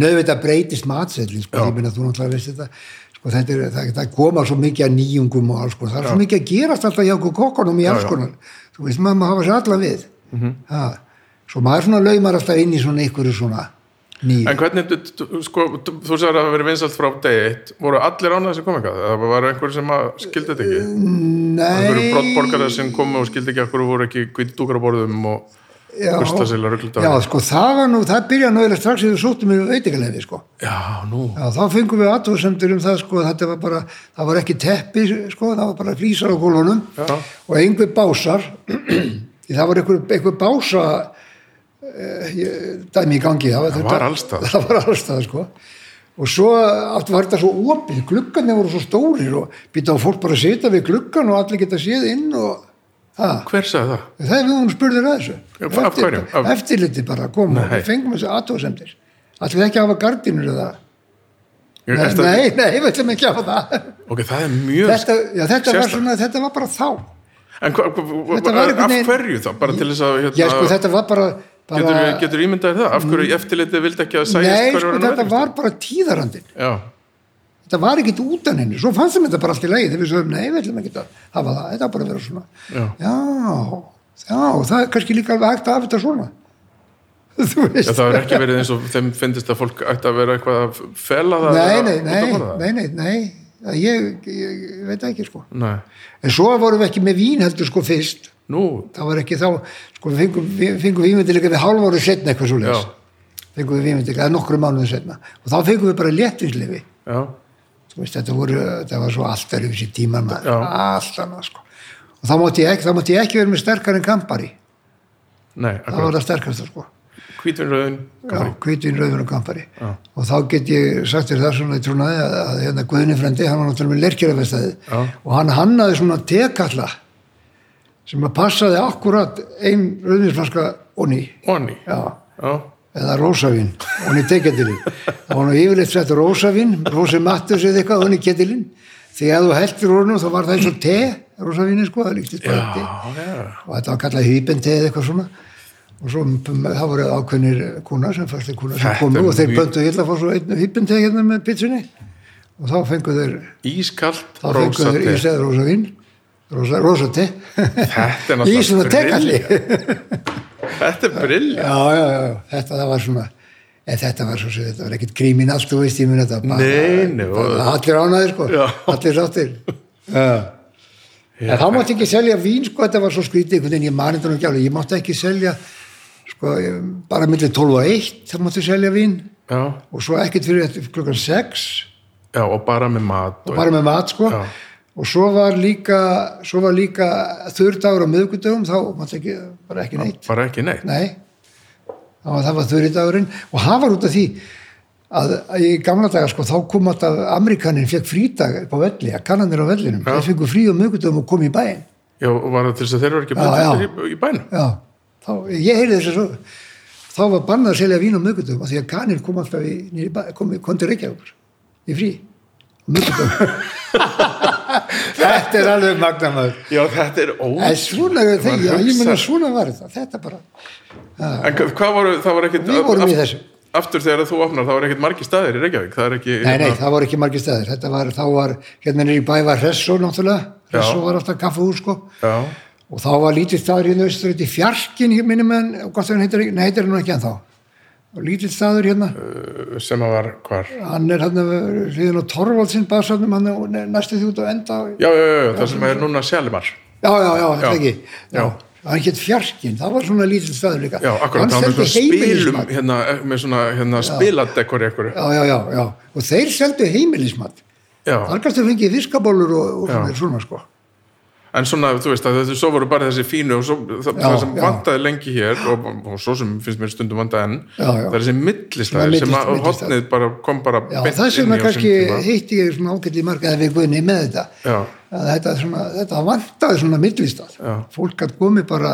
Speaker 2: en auðvitað breytist matsellin sko,
Speaker 1: Já.
Speaker 2: ég meina þú náttúrulega veist þetta sko, þetta er, það, það koma svo mikið að nýjungum og alls konar, það er svo mikið að gerast alltaf hjá okkur kokkunum í alls
Speaker 1: já. Mhm.
Speaker 2: konar þú veist maður má hafa sér allan við mm svo maður svona laumar alltaf inn í svona einhverju svona nýju
Speaker 1: En hvernig, d- d- sko, d- þú sagði að það hafi verið vinsalt frá degi eitt. Voru allir ánæðið sem kom eitthvað? Það var einhver sem að skildi þetta
Speaker 2: Eh,
Speaker 1: ekki? Einhverju brottborgarar sem komu og skildi ekki að hverju voru ekki hvítdúkar á borðum og
Speaker 2: Já.
Speaker 1: Burstasela, rugludagurinn.
Speaker 2: Já, sko, það var nú, það byrjaði nú eiginlega strax þegar við sóttum við veitingalegi, sko.
Speaker 1: Já, nú.
Speaker 2: Já, þá fengum við aðtóðsendur um það, sko, að þetta var bara, það var ekki teppi, sko, það var bara flýsar á gólunum
Speaker 1: Já.
Speaker 2: og einhver básar, Því það var einhver, einhver bása eh, ég- dæmi í gangi. Það var,
Speaker 1: Það
Speaker 2: þetta-
Speaker 1: var alls staðar.
Speaker 2: Það var allstað, sko. Og svo allt var þetta svo opið, gluggarnir voru svo stórir og býta á fólk bara að sitja við gluggan og allir geta séð inn og, það.
Speaker 1: Hver sagði það?
Speaker 2: Það er við hún spurður að þessu.
Speaker 1: Já, af hverjum? Af-
Speaker 2: Eftirliti bara kom og
Speaker 1: Nei.
Speaker 2: við fengum þessu aðtóðsendir. Ætlum við ekki að hafa gardinur eða?
Speaker 1: Ég,
Speaker 2: Nei,
Speaker 1: ertu að-
Speaker 2: nei, nei, við ætlum ekki að hafa það.
Speaker 1: Ok, það er mjög...
Speaker 2: Þetta, já, þetta, var
Speaker 1: sérstakt.
Speaker 2: svona, þetta var bara þá.
Speaker 1: En hva, hva, hva,
Speaker 2: Þetta var einhvern
Speaker 1: af
Speaker 2: veginn-
Speaker 1: hverju þá? Bara til þess að... Hérna,
Speaker 2: Já, sko, þetta var bara... bara
Speaker 1: getur, getur ímyndaðir það? Af hverju eftirlitið vildi ekki að sæjast
Speaker 2: nei,
Speaker 1: hverju
Speaker 2: sko,
Speaker 1: var hann að
Speaker 2: þetta
Speaker 1: verðast?
Speaker 2: var bara tíðarandin.
Speaker 1: Já,
Speaker 2: Þetta var ekkit utan henni. Svo fannst þeim þetta bara allt í lagi þegar við sögum, nei, við ætlum ekki að hafa það. Þetta var bara að vera svona.
Speaker 1: Já.
Speaker 2: já, já, það er kannski líka alveg hægt að hafa þetta svona. Þú veist.
Speaker 1: já, það var ekki verið eins og þeim finnist að fólk ætti að vera eitthvað að fela það
Speaker 2: nei,
Speaker 1: eða
Speaker 2: nei,
Speaker 1: út að
Speaker 2: nei,
Speaker 1: borða það.
Speaker 2: nei, nei, nei. Ég, ég, ég veit það ekki sko
Speaker 1: Nei.
Speaker 2: en svo vorum við ekki með vín heldur sko fyrst
Speaker 1: Nú,
Speaker 2: það var ekki þá sko við fengum, við fengum vínvendilega við hálfóru setna eitthvað svo leis
Speaker 1: Já.
Speaker 2: fengum við vínvendilega nokkru mánuðu setna og þá fengum við bara léttinslefi
Speaker 1: já,
Speaker 2: veist, þetta, voru, þetta var svo alltaf yfir sér tíman
Speaker 1: Já.
Speaker 2: allt annað sko og þá mátti ég ekki, þá mátti ég ekki vera með sterkar en kampari
Speaker 1: nei,
Speaker 2: það
Speaker 1: akkur.
Speaker 2: var það sterkasta sko
Speaker 1: Hvítvinröðin,
Speaker 2: Já, hvítvin rauður og kampari og þá get ég sagt þér það svona í trúnaði að, að hérna Guðni frendi, hann var náttúrulega með lerkjörafestæði
Speaker 1: Já.
Speaker 2: og hann hannaði svona tekalla sem að passaði akkurat ein rauðinsflaska onni
Speaker 1: onni.
Speaker 2: já,
Speaker 1: Já,
Speaker 2: eða rósavín og hann í teketilin þá var hann yfirleitt sett rósavín rósi mattus eða eitthvað og hann í ketilin því að þú heldur honum þá var það eins og te rósavínu sko, það líktist bara te
Speaker 1: já,
Speaker 2: og þetta var kallað hýbendi eða eitthvað svona og svo það voru ákveðnir kuna sem fæstir kuna sem
Speaker 1: Þetta
Speaker 2: komu
Speaker 1: er
Speaker 2: og þeir
Speaker 1: mjög-
Speaker 2: böndu illa að fá svo einu hýbendi hérna með pitsunni og þá fengu þeir
Speaker 1: Ískalt
Speaker 2: þá fengu þeir
Speaker 1: rósate.
Speaker 2: í steð rosa vín rosa, rosa te
Speaker 1: Þetta er
Speaker 2: í svona tekalli
Speaker 1: brilliant. Þetta er brill
Speaker 2: já, já, já, þetta það var svona en þetta var svo sem þetta var ekkert grímin allt þú veist, ég mun þetta bara,
Speaker 1: Nei, nei, og-
Speaker 2: bara allir ánaðir sko,
Speaker 1: Já.
Speaker 2: allir sáttir já En þá mátti ekki selja vín, sko, þetta var svo skrítið einhvern veginn, ég mani þetta nú ekki alveg, ég mátti ekki selja sko, ég- bara millir 12 og 1 þá mátti selja vín
Speaker 1: já,
Speaker 2: og svo ekkert fyrir eftir klukkan 6
Speaker 1: já, og bara með mat og,
Speaker 2: bara með mat sko
Speaker 1: Já.
Speaker 2: og svo var líka, svo var líka þurrdagur á miðgudögum þá mátti ekki, bara ekki neitt
Speaker 1: bara ekki neitt
Speaker 2: nei, það var, það var þurrdagurinn og það var út af því að, að í gamla daga sko þá kom alltaf Amerikanin fekk frídag upp á velli að kannanir á vellinum,
Speaker 1: Já.
Speaker 2: þeir fengu frí á miðgudögum og kom í bæinn
Speaker 1: Já, og var það til þess að þeir eru ekki
Speaker 2: Já, já.
Speaker 1: bættir í, í bænum
Speaker 2: já, þá, ég heyrði þess að svo þá var bannað að selja vín á miðgudögum af því að kannin kom alltaf í, niður í bæ, kom, kom til Reykjavíkur í frí á miðgudögum þetta er alveg magnamaður
Speaker 1: Já, þetta er ó
Speaker 2: En svona eru þeir,
Speaker 1: Maður
Speaker 2: já, ég
Speaker 1: hugsar-
Speaker 2: meina svona var þetta, þetta bara.
Speaker 1: En hva- hvað voru, það var ekkit
Speaker 2: Við vorum í
Speaker 1: aft-
Speaker 2: þessu.
Speaker 1: Aftur þegar þú opnar, það var ekkit margir staðir í Reykjavík Það er ekki hérna-
Speaker 2: Nei, nei, það voru ekki margir stæðir, þetta var, þá var, hérna niður í bæ var Hressó náttúrulega,
Speaker 1: Já.
Speaker 2: Hressó var alltaf kaffuhúr sko,
Speaker 1: Já,
Speaker 2: og þá var lítið staður hérna austurreit í fjarkin, ég minni menn, og gott ef hann heitir, nei, heitir hann nú ekki ennþá. Og lítið staður hérna,
Speaker 1: Eh. sem að var hvar
Speaker 2: hann er hérna hliðin á Torvaldsinn, baðsafnum, hann er ne- næstu því út á enda.
Speaker 1: Já, já, já, já það sem er núna Sjalimar
Speaker 2: Já, já, já, þetta
Speaker 1: Já.
Speaker 2: ekki.
Speaker 1: Já.
Speaker 2: Hann hétt fjarkin, það var svona lítið staður líka.
Speaker 1: Já, akkurat,
Speaker 2: hann
Speaker 1: það var með
Speaker 2: seldi
Speaker 1: svona spilum
Speaker 2: heimilismat.
Speaker 1: hérna, með svona hérna, spiladekkur í ekkur
Speaker 2: Já, já, já, já, og þeir seldu heimilismat.
Speaker 1: Já,
Speaker 2: Þar kannski fengið fiskabólur og, og svona, svona sko.
Speaker 1: en svona, þú veist að þetta svo voru bara þessi fínu og svo, það,
Speaker 2: Já,
Speaker 1: það sem
Speaker 2: já.
Speaker 1: vantaði lengi hér og, og svo sem finnst mér stundum vantaði enn
Speaker 2: Já, já.
Speaker 1: það er þessi millistæðir
Speaker 2: Svona
Speaker 1: sem að
Speaker 2: millist- millistæðir.
Speaker 1: hotnið bara kom bara
Speaker 2: Já,
Speaker 1: beint
Speaker 2: það sem
Speaker 1: inn í
Speaker 2: að
Speaker 1: á
Speaker 2: kannski
Speaker 1: sínum tíma.
Speaker 2: heitti ég svona ágætt í marga eða við guðinni með þetta.
Speaker 1: Já.
Speaker 2: Að þetta, svona, þetta vantaði svona millistað.
Speaker 1: Já.
Speaker 2: Fólk gætt komið bara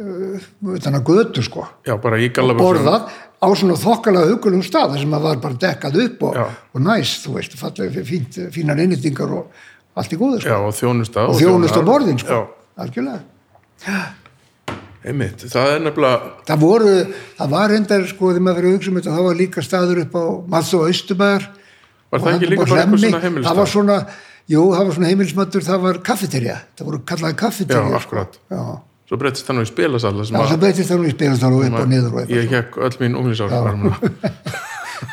Speaker 2: uh, utan að götu sko.
Speaker 1: Já, bara í Galaböksum
Speaker 2: Borðað á svona þokkalega hugulum stað þar sem að var bara dekkað upp og,
Speaker 1: Já.
Speaker 2: og næs, þú veist, fallega, fínt, fínar innýtingar og allt í góðu sko.
Speaker 1: Já, og þjónusta
Speaker 2: og þjónust á borðin sko.
Speaker 1: Já,
Speaker 2: Algjörlega.
Speaker 1: einmitt, það er nefnilega
Speaker 2: Það voru, það var endar sko þegar maður fyrir að hugsa um þetta, það var líka staður upp á Mads og Austubar
Speaker 1: Var það ekki líka bara eitthvað svona heimilisstaður?
Speaker 2: Það var svona, jú, það var svona heimilismatur, það var kaffeterja, það voru kallaði
Speaker 1: Já,
Speaker 2: kaffeterja
Speaker 1: akkurat
Speaker 2: Já,
Speaker 1: Svo breytist það nú í spilasalla sem
Speaker 2: sko. Já,
Speaker 1: að
Speaker 2: það breytist það nú í spilastar og upp og niður og eitthvað sko.
Speaker 1: ég hekk öll mín umlýsár Já,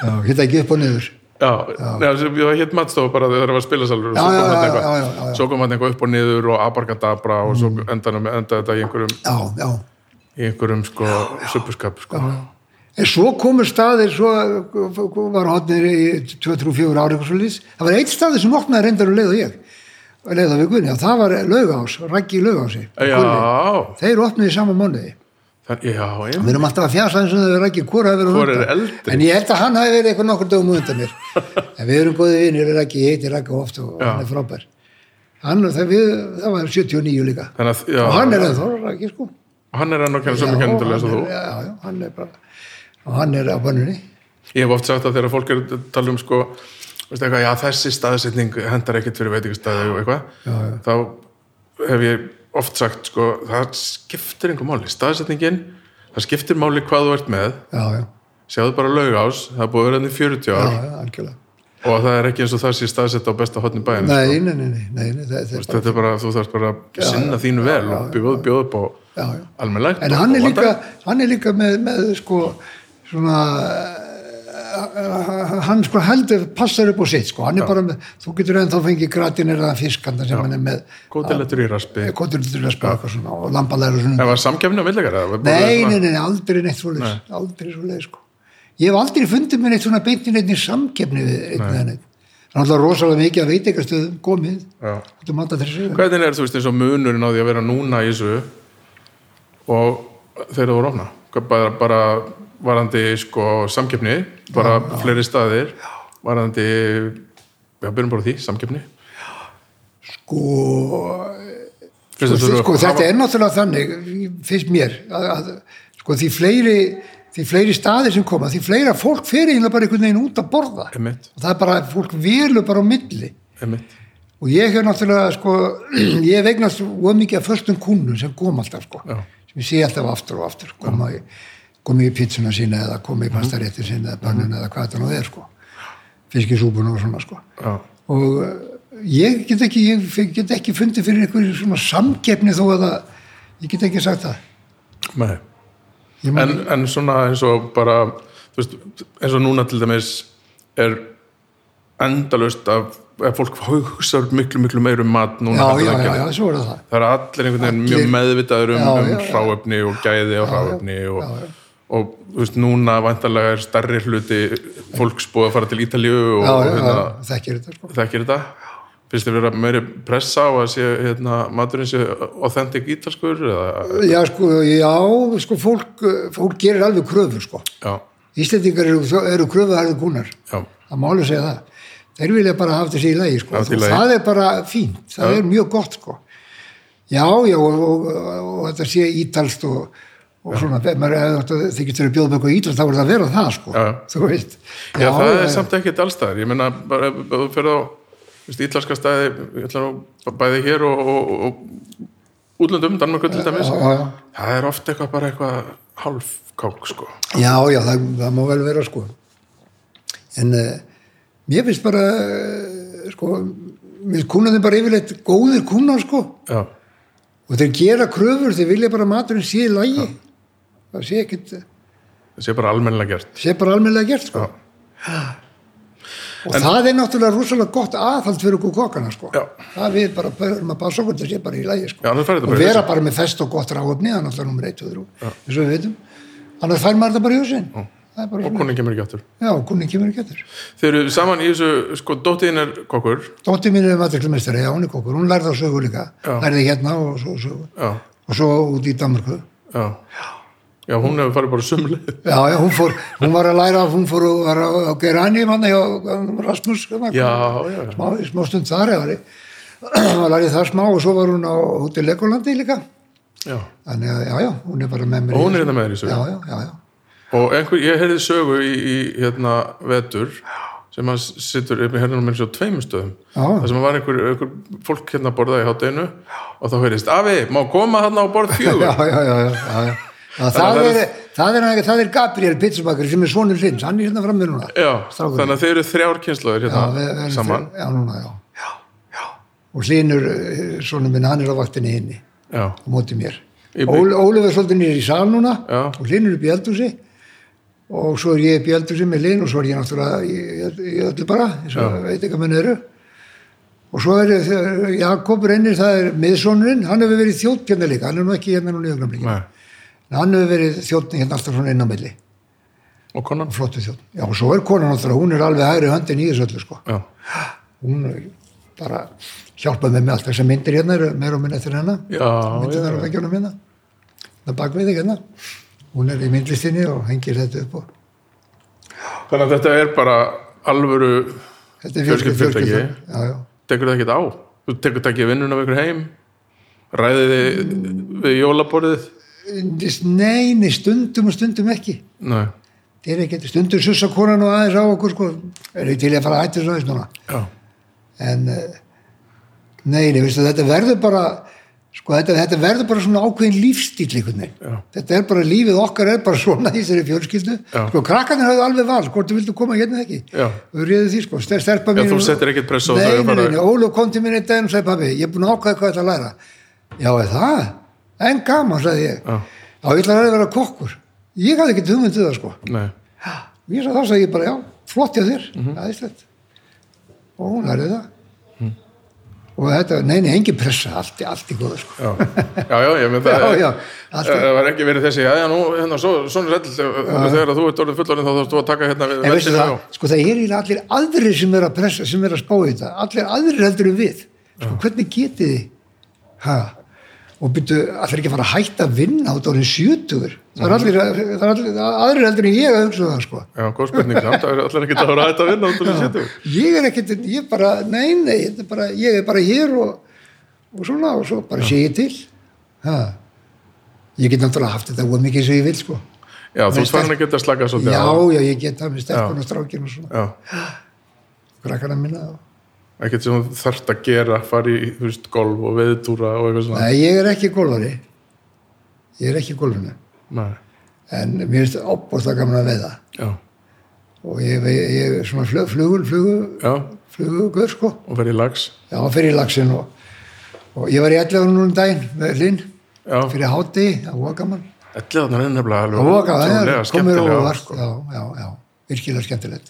Speaker 2: Já, hérna ekki upp og niður
Speaker 1: já. Nei, sem- það hétt matstofa bara þegar það var spilasalur og
Speaker 2: Já,
Speaker 1: svo
Speaker 2: já,
Speaker 1: kom
Speaker 2: já,
Speaker 1: þetta
Speaker 2: já, já, já, Mm.
Speaker 1: eitthvað
Speaker 2: já.
Speaker 1: Svo kom þetta eitthvað upp og niður og abarkadabra og svo endaði enda þetta í einhverjum,
Speaker 2: Já, já
Speaker 1: í einhverjum sko, suppuskap sko.
Speaker 2: En svo komur staðir, svo var hodnir í 2-3-4 ári eitthvað svo lýs. Það var eitt staði sem opnaði reyndar um leið og ég, um leið og við Gunni, og það var Laugás, Raggi Laugási.
Speaker 1: Já,
Speaker 2: Gulli. Þeir opnaði saman mánuði.
Speaker 1: það, já, einmitt
Speaker 2: Við erum alltaf að fjasa eins og það er ekki hvora að vera
Speaker 1: Hvor er eldri?
Speaker 2: En ég held að hann hafi verið eitthvað nokkur dögum á undan mér. en við erum góði vinir, við ekki, ég heiti Ragga oft og
Speaker 1: Já.
Speaker 2: hann er frábær. Hann, það, við, það var 79 líka.
Speaker 1: Þannig að, já,
Speaker 2: og hann er ennþá Raggi, sko.
Speaker 1: hann er enn og kenna
Speaker 2: Já,
Speaker 1: sömu kennendalega
Speaker 2: hann
Speaker 1: svo
Speaker 2: er-
Speaker 1: þú
Speaker 2: já, já, hann er bara, og hann er á bönnunni.
Speaker 1: Ég hef oft sagt að þegar fólk er að tala um sko, veistu eitthvað, já þessi staðsetning hendar ekkert fyrir veitingastæði og eitthvað þá hef ég oft sagt sko, það skiptir einhver máli staðsetningin, það skiptir máli hvað þú ert með,
Speaker 2: Já, já,
Speaker 1: sjáðu bara laugás, það er búið að vera hann í 40
Speaker 2: já,
Speaker 1: ár
Speaker 2: já, algjörlega.
Speaker 1: og það er ekki eins og það sé staðsett á besta hotni bæin
Speaker 2: Nei, nei, nei, nei, nei, nei það, það er bara,
Speaker 1: þetta er bara, þú þarf bara að sinna þínu vel og bjóð, bjóð upp á
Speaker 2: já, já.
Speaker 1: almennlegt
Speaker 2: En
Speaker 1: og-
Speaker 2: hann er
Speaker 1: og
Speaker 2: líka,
Speaker 1: vandar-
Speaker 2: hann er líka með, með sko, svona, eh, hann sko heldur, passar upp á sitt, sko, hann er bara með, þú getur ennþá fengið gratin er það fiskanda sem hann er með,
Speaker 1: kótelettur í raspi
Speaker 2: kontur til að spara eitthvað svona og lambalæra og
Speaker 1: Það
Speaker 2: svona.
Speaker 1: var samkefni á millikar
Speaker 2: Nei, nei, nei, nei, aldrei neitt svoleiðis, aldrei svoleiðis, sko. Ég hef aldrei fundið mér neitt svona beintin eitt í samkefni við einn eða neitt. Það er alltaf rosalega mikið að veit eitthvað stöðum komið, um
Speaker 1: Já.
Speaker 2: þetta manda þessu.
Speaker 1: Hvernig er þú veist eins og munurinn á því að vera núna í þessu og þegar þú voru ofna? Hvað- Bara, bara varandi sko samkeppni, bara fleiri staðir, varandi, já, byrjum bara á því, samkeppni.
Speaker 2: Sko,
Speaker 1: Fyrst
Speaker 2: sko,
Speaker 1: að þú-
Speaker 2: sko
Speaker 1: hafa-
Speaker 2: þetta er náttúrulega þannig finnst mér að, að, sko því fleiri því fleiri staðir sem koma, því fleira fólk fer eiginlega bara einhvern veginn út að borða
Speaker 1: Einmitt.
Speaker 2: og það er bara, fólk velur bara á milli
Speaker 1: einmitt,
Speaker 2: og ég hef náttúrulega sko, ég hef eignast of mikið af förstum kúnum sem kom alltaf sko,
Speaker 1: Já.
Speaker 2: sem ég sé alltaf aftur og aftur koma í, koma í pizzuna sína eða koma í
Speaker 1: Mhm.
Speaker 2: pastaréttin sína eða bannun eða hvað þetta nú er sko fiskisúbun og svona sko
Speaker 1: já,
Speaker 2: og eh, ég get ekki ég f- get ekki fundið fyrir einhverju svona samkeppni þó að það, ég get ekki sagt það
Speaker 1: nei
Speaker 2: Ég man-
Speaker 1: en, en svona eins og bara þú veist, eins og núna til dæmis er endalaust að að fólk hugsa miklu, miklu meir um mat núna
Speaker 2: já,
Speaker 1: heldur en
Speaker 2: já,
Speaker 1: það
Speaker 2: já,
Speaker 1: gerði.
Speaker 2: já, svo er það
Speaker 1: það er allir einhvern veginn
Speaker 2: Allir-
Speaker 1: mjög meðvitaður um,
Speaker 2: Já, já,
Speaker 1: um
Speaker 2: já.
Speaker 1: hráöfni og gæði og hráöfni og, og þú veist, núna vantarlega er starri hluti fólks búið að fara til Ítalíu og,
Speaker 2: já,
Speaker 1: og
Speaker 2: já,
Speaker 1: hérna,
Speaker 2: já, þekkir þetta sko
Speaker 1: þekkir þetta finnst þið vera meiri pressa á að sé hérna, maturinn sé authentic ítalskur eða,
Speaker 2: já, sko, já, sko fólk, eh, fólk gerir alveg kröfur sko
Speaker 1: já,
Speaker 2: Íslendingar eru, eru kröfuharðu kúnar
Speaker 1: já,
Speaker 2: það má alveg segja það þeir vilja bara hafa þessi í lagi sko.
Speaker 1: Hafa þetta í
Speaker 2: Og
Speaker 1: lagi.
Speaker 2: það er bara fínt, það er mjög gott sko. já, já og, og, og, þetta sé ítalst og, og svona, maður hefði átt að- þið getur að bjóða með eitthvað ítalst, þá er það að vera það sko.
Speaker 1: Já.
Speaker 2: þú veist
Speaker 1: já, það er
Speaker 2: já,
Speaker 1: samt ekkert allstaðar ég meina, bara ef- ef þú fyrir á þú veist, ítalska staði, ég ætla nú bæði hér og, og, og útlöndum, Danmarku til dæmis
Speaker 2: já, já.
Speaker 1: það er oft eitthvað bara eitthvað hálfkák sko,
Speaker 2: já, já, það, það má vel vera sko. en uh, mér finnst bara eh, sko, mér finnst kúnaðin bara yfirleitt góðir kúnar sko.
Speaker 1: já
Speaker 2: og þeir gera kröfur, þeir vilja bara að maturinn sé í lagi það sé ekkit
Speaker 1: það sé bara almennilega gert
Speaker 2: sé bara almennilega gert sko.
Speaker 1: Já.
Speaker 2: og það er náttúrulega rosalega gott aðhald fyrir okkur kokkana sko.
Speaker 1: Já.
Speaker 2: það við bara börum að passa okkur til sé bara í lagi sko.
Speaker 1: Já, annars færðu þetta
Speaker 2: og
Speaker 1: bara í
Speaker 2: vera
Speaker 1: hausinn.
Speaker 2: bara með fest og gott ráfni það er náttúrulega nummer 1 og 3 eins og við veitum annars fær maður þetta bara í húsin það er bara
Speaker 1: og
Speaker 2: svona
Speaker 1: konin kemur ekki aftur
Speaker 2: já, kunni kemur ekki eftir
Speaker 1: þeir eru saman í þessu, sko, dóttiðin er kokkur
Speaker 2: dótti mín er matriklumestari, já hún er kokkur hún lærði á sögu líka,
Speaker 1: Já.
Speaker 2: lærði hérna og svo, svo,
Speaker 1: já,
Speaker 2: og svo út í Danmarku
Speaker 1: já, já hún hefur farið bara sumlið
Speaker 2: já, já, hún fór, hún var að læra hún fór og var að að gera hann í manna hjá Rasmus hérna,
Speaker 1: já, já, já,
Speaker 2: smá, smá stund þar eða var ég- var lærið það smá og svo var hún á Hótel Legolandi líka
Speaker 1: já.
Speaker 2: þannig að já, já, hún er bara með mér í
Speaker 1: og hún er
Speaker 2: þessu.
Speaker 1: þetta með þér í
Speaker 2: já,
Speaker 1: sögu
Speaker 2: já, já, já,
Speaker 1: og einhver, ég heyrði sögu í, í hérna, vetur sem hann sittur upp í herðunum eins og tveimur stöðum
Speaker 2: Já.
Speaker 1: það sem var einhver, einhver fólk hérna að borða í hátdeinu og þá heyrðist, afi, má koma hérna á borð fjögur
Speaker 2: já, já, já, já, já, já. Það,
Speaker 1: Þannig að það
Speaker 2: það, er, það, er, það er Gabriel Pitsubakar sem er svonur hins, hann er hérna fram með núna
Speaker 1: já,
Speaker 2: Strákurinn.
Speaker 1: þannig að þeir eru þrjár kynslaður
Speaker 2: Já, við-
Speaker 1: hérna
Speaker 2: við erum
Speaker 1: saman
Speaker 2: þrjú- já, núna, já. já, já og hlínur, svona minn, hann er á vaktinni hinni
Speaker 1: já,
Speaker 2: á móti mér
Speaker 1: Í-
Speaker 2: Ól, Ólif er svolítið nýr í sal núna
Speaker 1: Já.
Speaker 2: og hlínur upp í eldhúsi og svo er ég upp í eldhúsi með hlín og svo er ég náttúrulega í, í- í öllu bara eins og
Speaker 1: Já.
Speaker 2: veit ekki að menn eru og svo er þegar Jakob reynir það er miðsonurinn, hann hefur verið þjótt hérna líka, hann er nú ekki hérna núna í augnablikinu
Speaker 1: nei,
Speaker 2: en hann hefur verið þjótt hérna alltaf svona inn á milli
Speaker 1: og konan
Speaker 2: flottu þjótt, já og svo er konan náttúrulega hún er alveg hægri höndin í þessu öllu sko
Speaker 1: já,
Speaker 2: hún bara hjálpaði mér með allt þessar myndir hérna eru meira og minna eftir hérna
Speaker 1: já, já,
Speaker 2: myndirnar á veggjónum hérna það bak við þig hérna hún er í myndlistinni og hengir þetta upp og
Speaker 1: þannig að þetta er bara alvöru
Speaker 2: þetta er
Speaker 1: Fjölskyldu-
Speaker 2: fjölskyldan.
Speaker 1: fyrirtæki.
Speaker 2: já, já.
Speaker 1: tekur það ekkert á þú tekur það ekki vinnun af ykkur heim ræðið þið við jólaborðið
Speaker 2: Nei, nei, stundum og stundum ekki
Speaker 1: nei,
Speaker 2: þeir eru ekki, stundum sussa konan og aðeins á okkur sko, er ekki til í að fara að hættu svo aðeins núna
Speaker 1: já,
Speaker 2: en eh, nei, nei, veistu, þetta verður bara sko, þetta, þetta verður bara svona ákveðin lífstíl
Speaker 1: Já.
Speaker 2: einhvern veginn, þetta er bara lífið okkar er bara svona í þessari fjölskyldu
Speaker 1: Já.
Speaker 2: sko, krakkanir hafðu alveg val, hvort þú vildu koma hérna eða ekki,
Speaker 1: Já.
Speaker 2: þú réðu því sko ster- stelpa
Speaker 1: já
Speaker 2: mín,
Speaker 1: þú settir ekkert pressa á
Speaker 2: nei,
Speaker 1: þau
Speaker 2: nei,
Speaker 1: að
Speaker 2: nei,
Speaker 1: fara-
Speaker 2: nei, Ólaf kom til mín einn daginn og sagði pabbi, ég er búin að ákvæða hvað ég ætla að læra já, er það, en gaman sagði ég,
Speaker 1: Já.
Speaker 2: já, ég ætla að læra að vera kokkur ég hafði ekki hugmyndið það sko
Speaker 1: nei,
Speaker 2: og ég sagði þá sagði ég bara já, flott hjá þér mm og hún lærði það og þetta, nei, nei, engin pressa allt, í- allt í góðu sko.
Speaker 1: já, já, já, ég með það
Speaker 2: já,
Speaker 1: er-
Speaker 2: já, allt í
Speaker 1: það var ekki verið þessi, já, já, nú, hérna, svo, svona sæll, þegar að þú ert orðið fullorinn þá þarfst þú að taka hérna við
Speaker 2: en veistu
Speaker 1: verkinu
Speaker 2: það,
Speaker 1: og-
Speaker 2: sko það er eiginlega allir aðrir sem er að pressa, sem er að spá í þetta allir aðrir heldur en við sko, hvernig getið þið ha? og byrju, allir ekki að fara að hætta að vinna út árið 70 það er allir, það er allir aðrir heldur en ég að hugsa það sko
Speaker 1: Já, góð spurning, samt, það er allir ekkert að vera að þetta vinna út og þú setjum.
Speaker 2: ég er ekkert, ég bara, nei, nei þetta er bara, ég er bara hér og, og svona og svo bara sé ég til ha. ég get náttúrulega haft þetta og mikið sem ég vil sko
Speaker 1: Já, þú ert farin að geta slakað svolítið
Speaker 2: já,
Speaker 1: á.
Speaker 2: já, ég get það með stelpun og strákin og svona,
Speaker 1: Já,
Speaker 2: krakkana minna og...
Speaker 1: ekkert sem þú þarft að gera, fara í, þú veist, golf og veðutúra og eitthvað svona.
Speaker 2: Nei, ég er ekki gólfari ég er ekki gólfinu
Speaker 1: Nei.
Speaker 2: en mér finnst opbósta gaman að veða
Speaker 1: Já,
Speaker 2: og ég, ég, ég er svona flug, flugul flugu,
Speaker 1: já,
Speaker 2: flugugur sko
Speaker 1: og verið lags.
Speaker 2: já, fyrir laxin og, og ég var í 11 núna um daginn með Linn
Speaker 1: Já,
Speaker 2: fyrir hátti, það var gaman
Speaker 1: elliðarnar er nefnilega alveg
Speaker 2: það var gaman,
Speaker 1: ótrúlega
Speaker 2: það komur
Speaker 1: skemmtilegar,
Speaker 2: óvart
Speaker 1: sko.
Speaker 2: já, já, já, virkilega skemmtilegt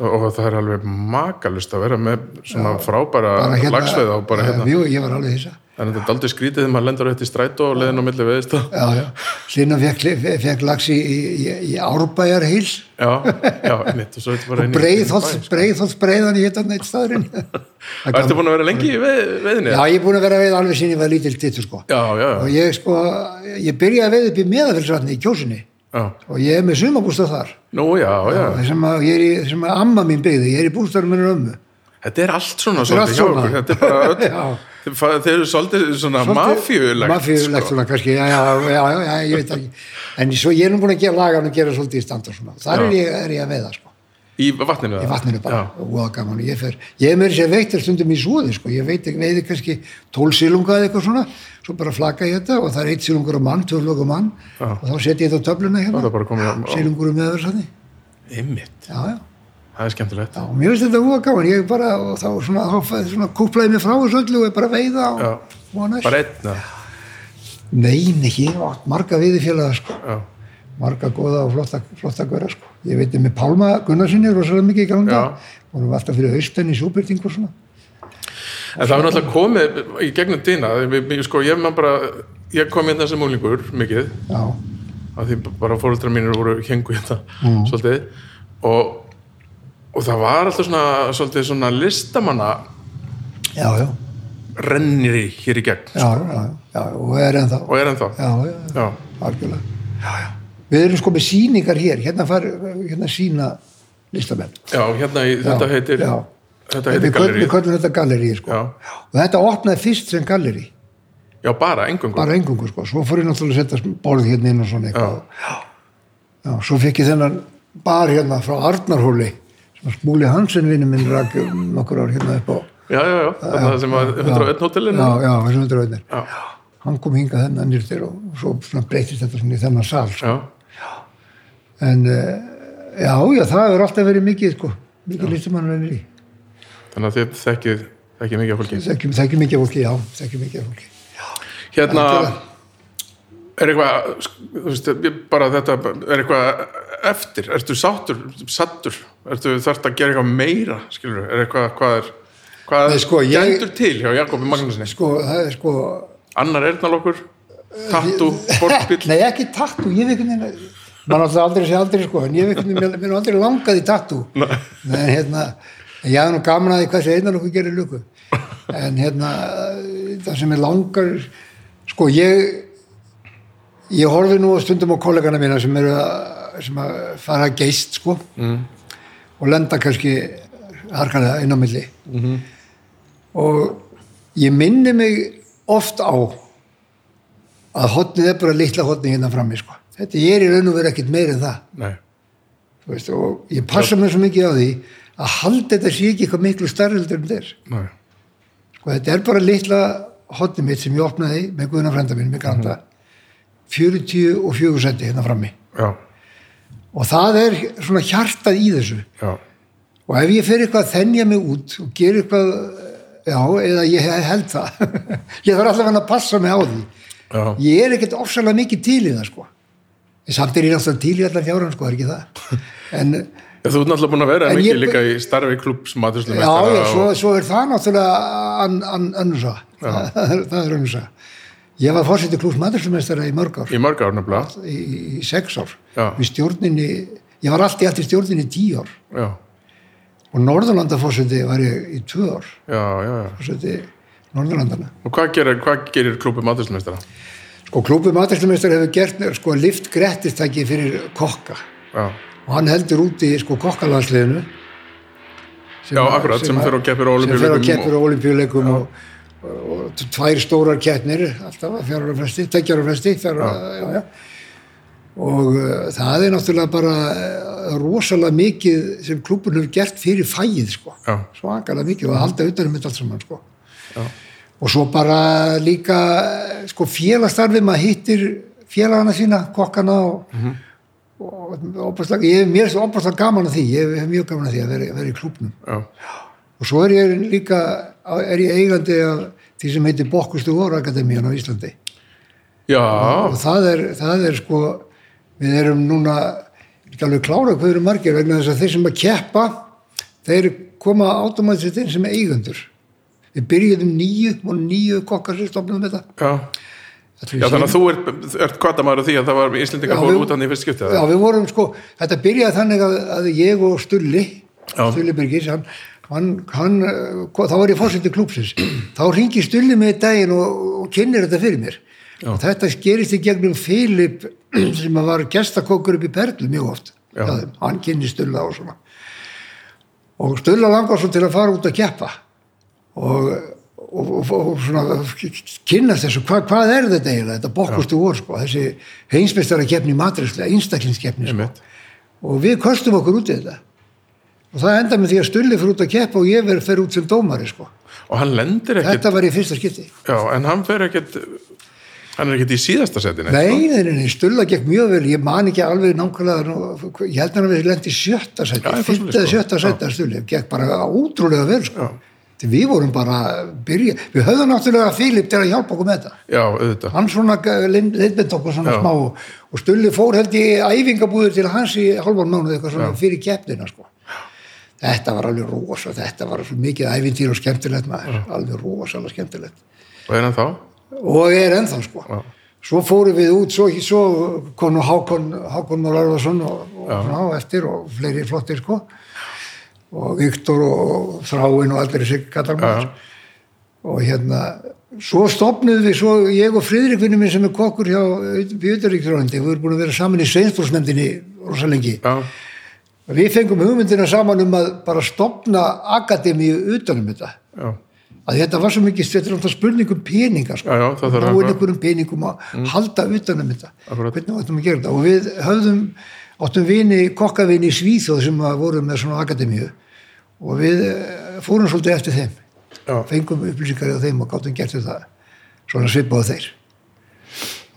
Speaker 1: og, og það er alveg makalust að vera með svona frábæra lagsveið á bara hérna.
Speaker 2: já, jú, ég var alveg hissa
Speaker 1: Þannig að þetta er aldrei skrítið þegar maður lendur eftir strætó og leiðin á milli veðist
Speaker 2: já, já, Linn fekk, fekk lax í, í, í, í árbæjarhýls
Speaker 1: Já, já, mitt og svo ertu bara inn í- inn í bæ,
Speaker 2: breiðhótt
Speaker 1: sko.
Speaker 2: breiðhótt breiðan í hittan eitt staðurinn já,
Speaker 1: Ertu búin að vera lengi í veð, veðinni?
Speaker 2: ég er búin að vera veið alveg sinni var lítill dittur sko
Speaker 1: Já, já,
Speaker 2: og
Speaker 1: já,
Speaker 2: ég sko, ég byrjaði að veið upp í meðafellsvatni í kjósinni
Speaker 1: já.
Speaker 2: og ég er með sumabústað þar
Speaker 1: Nú, já, já.
Speaker 2: þar sem að, ég er í, sem að amma mín byggði, ég er í bústaðum minnur ömmu
Speaker 1: Þetta er allt svona
Speaker 2: Þetta er allt
Speaker 1: svolítið hjá
Speaker 2: svona.
Speaker 1: okkur. Þetta er bara
Speaker 2: Já.
Speaker 1: öll, Þið fa- þið eru svolítið svona sko. mafjulegt.
Speaker 2: mafjulegt svona kannski, já, já, já, já, já, ég veit ekki en svo ég er nú búin að gera lagan og gera svolítið í stand og svona, þar er
Speaker 1: Já.
Speaker 2: ég, er ég að veiða sko,
Speaker 1: Í vatninu það?
Speaker 2: í vatninu bara,
Speaker 1: Já,
Speaker 2: og það gaman, ég fer ég er meira sér veittir stundum í svoði sko, ég veit ekki veiði kannski tól silunga eða eitthvað svona, svo bara flaka ég þetta og það er eitt silungur á mann, tvöflög á mann
Speaker 1: Já.
Speaker 2: og þá setja ég þetta á töfluna
Speaker 1: það
Speaker 2: hérna
Speaker 1: er bara komið á...
Speaker 2: silungur um meðverðsandi,
Speaker 1: Ymmit,
Speaker 2: já, já
Speaker 1: það er skemmtilegt.
Speaker 2: Já, mér finnst þetta óa gaman, ég bara, og þá svona, þá fæ- svona kúplaði mér frá þessu öllu og ég bara að veiða
Speaker 1: Já.
Speaker 2: og vonaðis.
Speaker 1: Bara einn, já.
Speaker 2: Nei, nei, ég hef átt marga veiðifélaga, sko,
Speaker 1: já.
Speaker 2: marga góða og flotta, flotta góra, sko. Ég veit með Pálma Gunnarsinni rosalega mikið í ganga,
Speaker 1: Já.
Speaker 2: vorum við alltaf fyrir austenni í súbyrting og svona.
Speaker 1: En það var náttúrulega komið í gegnum dýna. Sko, ég, man bara, ég kom hérna sem múlingur mikið,
Speaker 2: Já,
Speaker 1: af því bara fóröldra mínir voru hengu hérna,
Speaker 2: Mm.
Speaker 1: svolítið. Og, og það var alltaf svona, svolítið svona listamanna
Speaker 2: já, já,
Speaker 1: rennir hér í gegn
Speaker 2: já, já, já, já og er ennþá.
Speaker 1: og er ennþá.
Speaker 2: Já, já, já,
Speaker 1: Já,
Speaker 2: algjörlega. Já, já. Við erum sko með síningar hér, hérna far, hérna sína listamenn.
Speaker 1: já hérna í, þetta
Speaker 2: Já,
Speaker 1: heitir,
Speaker 2: já.
Speaker 1: þetta heitir
Speaker 2: Við köllum,
Speaker 1: gallerí.
Speaker 2: við köllum þetta gallerí, sko.
Speaker 1: Já.
Speaker 2: Og þetta opnaði fyrst sem gallerí.
Speaker 1: Já, bara, engungu.
Speaker 2: bara engungu sko, svo fór ég náttúrulega að setja borð hérna inn og svona eitthvað já, svo fekk ég þennan bar hérna frá Arnarhóli sem að Smúli Hansen vinnu minn rak um nokkur ár hérna upp á
Speaker 1: Já, já, já, þarna sem var 101 hótelinu.
Speaker 2: já, já, þessum hundur auðvitað
Speaker 1: Já.
Speaker 2: hann kom hingað þennan nýr til og svo svona breytist þetta svona í þennan sal sko.
Speaker 1: Já,
Speaker 2: en eh, já, já, það hefur alltaf verið mikið sko, mikið listumann venir í
Speaker 1: þannig að þið þekkið, þekkið mikið af fólki.
Speaker 2: þekkjum, þekkjum mikið af fólki, já, þekkjum mikið af fólki
Speaker 1: Hérna,
Speaker 2: Algjörlega.
Speaker 1: er eitthvað, sk- þú veist, ég- bara þetta, er eitthvað eftir, ertu sáttur, sattur, ertu þarft að gera eitthvað meira, skilur, er eitthvað, hvað er, hvað
Speaker 2: Nei,
Speaker 1: er,
Speaker 2: sko, ég-
Speaker 1: gændur til hjá Jakobi Magnúsinni?
Speaker 2: sko, það er sko
Speaker 1: Annar Ernalokkur,
Speaker 2: Eh,
Speaker 1: Tattu, Bortbill,
Speaker 2: Nei, ekki tattoo, ég hef einhvern veginn maður alltaf aldrei sé aldrei sko en ég hef einhvern veginn, mér- mér er aldrei langað í tattoo en hérna, en ég hef nú gaman að því hvað sem einan okkur gerir luku en hérna, það sem er langar sko ég ég horfi nú stundum á kollegana mína sem eru að sem að fara að geist sko mm. og lenda kannski harkalega inn á milli -hmm. og ég minni mig oft á að hotnið er bara litla hotnið hérna frammi sko. þetta ég er í raun og verið ekkert meir en það
Speaker 1: nei,
Speaker 2: þú veist, og ég passa mér svo mikið á því að halda þetta sé ekki eitthvað miklu starrildur en þér
Speaker 1: nei,
Speaker 2: sko, þetta er bara litla hotnið mitt sem ég opnaði með Guðna frænda minn, með granda 40 og 40 senti hérna frammi
Speaker 1: já,
Speaker 2: og það er svona hjartað í þessu
Speaker 1: já,
Speaker 2: og ef ég fer eitthvað að þennja mig út og gera eitthvað já, eða ég held það ég þarf alltaf að passa mig á því
Speaker 1: já,
Speaker 2: ég er ekkert ofsalega mikið til í það sko en samt er ég náttúrulega til í allar fjáran sko, það er ekki það en já,
Speaker 1: Þú ert náttúrulega búin að vera
Speaker 2: En
Speaker 1: mikið
Speaker 2: ég-
Speaker 1: líka í starfi klubs maturslum
Speaker 2: já, svo, svo er það náttúrulega an, an, önnursa það er það er önnursa ég var fórseti klús matursumestara í mörg ár sko,
Speaker 1: í mörg ár nefnilega,
Speaker 2: í, í sex ár
Speaker 1: Já.
Speaker 2: við stjórninni, ég var allt í allt í stjórninni í tíu ár
Speaker 1: já,
Speaker 2: og Norðurlanda fórseti var ég í tvö ár
Speaker 1: já, já, já.
Speaker 2: fórseti Norðurlandana
Speaker 1: Og hvað gerir, hvað gerir klubbi maturslumistara?
Speaker 2: sko klúpi matursumestara hefur gert sko lift grettistæki fyrir kokka
Speaker 1: Já,
Speaker 2: og hann heldur úti sko kokkalansliðinu sem,
Speaker 1: Já, akkurat, sem fer og keppir á
Speaker 2: sem fer og
Speaker 1: Ólympíuleikum
Speaker 2: keppir á olimpíuleikum og, og, og tvær stórar keppnir alltaf að fjárara fresti, tekjara fresti fjárara, já, já og uh, það er náttúrulega bara eh, rosalega mikið sem klubun hefur gert fyrir fæið sko.
Speaker 1: Já.
Speaker 2: svakalega mikið og að halda utanum þetta allt saman sko. og svo bara líka eh, sko, félagstarfi maður hittir félagana sína, kokkana og, mm -hmm. og, og, ég, mér er svo opastar gaman að því ég hef mjög gaman að því að vera, vera í klubnum
Speaker 1: já,
Speaker 2: og svo er ég líka er ég eigandi af því sem heitir Bokkustúor Akademían á Íslandi
Speaker 1: já,
Speaker 2: og það er, það er sko við erum núna ekki alveg klára hvað eru margir vegna þess að þeir sem að keppa þeir koma automatist inn sem eigendur við byrjuðum nýju og nýju kokkar sem stofnum þetta
Speaker 1: já.
Speaker 2: Þetta er
Speaker 1: já
Speaker 2: síðan-
Speaker 1: þannig að þú ert, ert kvartamæður á því að það var Íslendingar
Speaker 2: Já,
Speaker 1: fóru
Speaker 2: við-
Speaker 1: út hann í fyrst skiptið
Speaker 2: Já,
Speaker 1: eða?
Speaker 2: við vorum sko, þetta byrjaði þannig að, að ég og Stulli,
Speaker 1: Já.
Speaker 2: Stulli Birgis, hann, hann, hann, eh, ko- þá var ég fórsetið klúpsins, þá ringi Stulli mig í daginn og, og kynir þetta fyrir mér.
Speaker 1: Já.
Speaker 2: Og þetta gerist í gegnum Filip sem að var gestakokkur upp í Perlu mjög oft.
Speaker 1: Já.
Speaker 2: hjá þeim. Hann kynni Stulla og svona. Og Stulla langar svo til að fara út að keppa og, og, og, og svona kynnast þessu, hva, hvað er þetta eiginlega þetta bokkustu vor sko, þessi heinsmestara keppni matrislega, einstaklingskeppni sko.
Speaker 1: Einmitt.
Speaker 2: og við kostum okkur út í þetta og það enda með því að Stulli fyrir út að keppa og ég verið fyrir út sem dómari sko.
Speaker 1: og hann lendir ekkit
Speaker 2: þetta var í fyrsta skipti
Speaker 1: já, en hann fer ekkit hann er ekkit í síðasta setinu
Speaker 2: nei, nei, nei, nei, Stulla gekk mjög vel ég man ekki alveg nákvæmlega nú, ég held hann að við lendi sjötta
Speaker 1: Já,
Speaker 2: sæti
Speaker 1: eitthvað svoleiðis,
Speaker 2: fyrta eða
Speaker 1: sko.
Speaker 2: sjötta sæti að Stulli gekk bara ótrúlega vel
Speaker 1: Já.
Speaker 2: sko. Því við vorum bara að byrja við höfðum náttúrulega Filip til að hjálpa okkur með þetta
Speaker 1: já, auðvitað
Speaker 2: hann svona eh, leiðbend okkur svona
Speaker 1: Já.
Speaker 2: smá og, og Stulli fór held í æfingabúður til hans í halvan mánuð eitthvað svona fyrir keppnina sko. þetta var alveg rosa þetta var svo mikið æfintýr og skemmtilegt maður, alveg rosalega skemmtilegt
Speaker 1: og er hann þá?
Speaker 2: og er ennþá sko
Speaker 1: Já.
Speaker 2: svo fórum við út, svo, svo kom nú Hákon, Hákon Már Arfarsson og, og
Speaker 1: Já.
Speaker 2: svona á eftir og fleiri flottir sko og Viktor og Þráin og allir sig kallar maður
Speaker 1: Já.
Speaker 2: og hérna svo stopnuðum við, svo ég og Friðrik vinnum minn sem er kokkur hjá Bjöðuríkþrólandi, við erum búin að vera saman í Sveinsbúrsnefndinni rosa lengi
Speaker 1: já,
Speaker 2: við fengum hugmyndina saman um að bara stopna akademíu utanum þetta
Speaker 1: já,
Speaker 2: að þetta var svo mikið þetta er alltaf spurning um peninga sko.
Speaker 1: Já, já, það þarf
Speaker 2: ná
Speaker 1: að- Mm.
Speaker 2: inn einhverjum peningum að halda utanum þetta
Speaker 1: Akkurat.
Speaker 2: hvernig áttum að gera þetta og við höfðum áttum vini, kokkavini í Svíþjóð sem að voru með svona akademíu og við eh, fórum svolítið eftir þeim
Speaker 1: já,
Speaker 2: fengum upplýsingar á þeim og gáttum gert við það svona svipað á þeir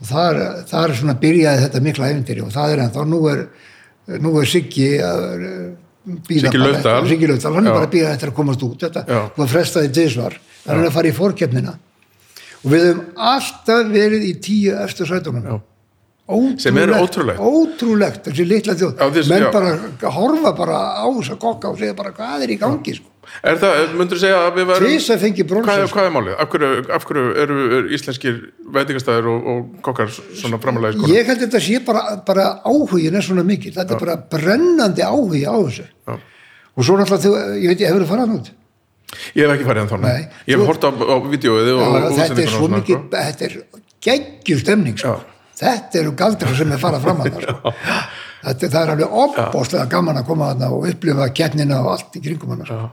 Speaker 2: og þar, þar svona byrjaði þetta mikla efndir og það er ennþá nú er, nú er Siggi að býða
Speaker 1: Siggi
Speaker 2: bara
Speaker 1: Laufdal.
Speaker 2: eftir- Siggi Laufdal, hann
Speaker 1: Já.
Speaker 2: er bara að býða eftir að komast út þetta
Speaker 1: Já.
Speaker 2: var frestaði tísvar hann er að fara í fórkeppnina og við höfum alltaf verið í tíu eftir sætunum
Speaker 1: Já. Sem er ótrúlegt.
Speaker 2: ótrúlegt, þessi litla þjóð
Speaker 1: Já, þessi-
Speaker 2: menn
Speaker 1: já.
Speaker 2: bara horfa bara á þess að kokka og segja bara hvað er í gangi sko.
Speaker 1: er það, myndur segja að við verum
Speaker 2: Tvisvar fengið brons
Speaker 1: Hvað,
Speaker 2: sko.
Speaker 1: er- hvað er málið? Af hverju, af hverju eru er íslenskir veitingastæðir og, og kokkar svona framalega skona?
Speaker 2: Ég held að þetta sé bara, bara áhugin er svona mikil, þetta er bara brennandi áhugi á þessu.
Speaker 1: Já.
Speaker 2: Og svo náttúrulega, þú, ég veit, ég hefur farað út.
Speaker 1: Ég hef ekki farið ennþá. nei.
Speaker 2: Nei.
Speaker 1: Ég hef
Speaker 2: Þú-
Speaker 1: hort á, á vídeoið og, og
Speaker 2: þetta
Speaker 1: útsendinguna
Speaker 2: er
Speaker 1: og
Speaker 2: svo
Speaker 1: svona,
Speaker 2: mikil,
Speaker 1: sko.
Speaker 2: þetta er geggjur stemning, sko.
Speaker 1: Já.
Speaker 2: Þetta eru galdrar sem er farað fram að það, sko. Þetta, það er alveg opbóstlega gaman að koma þarna og upplifa keppnina og allt í kringum hana, sko.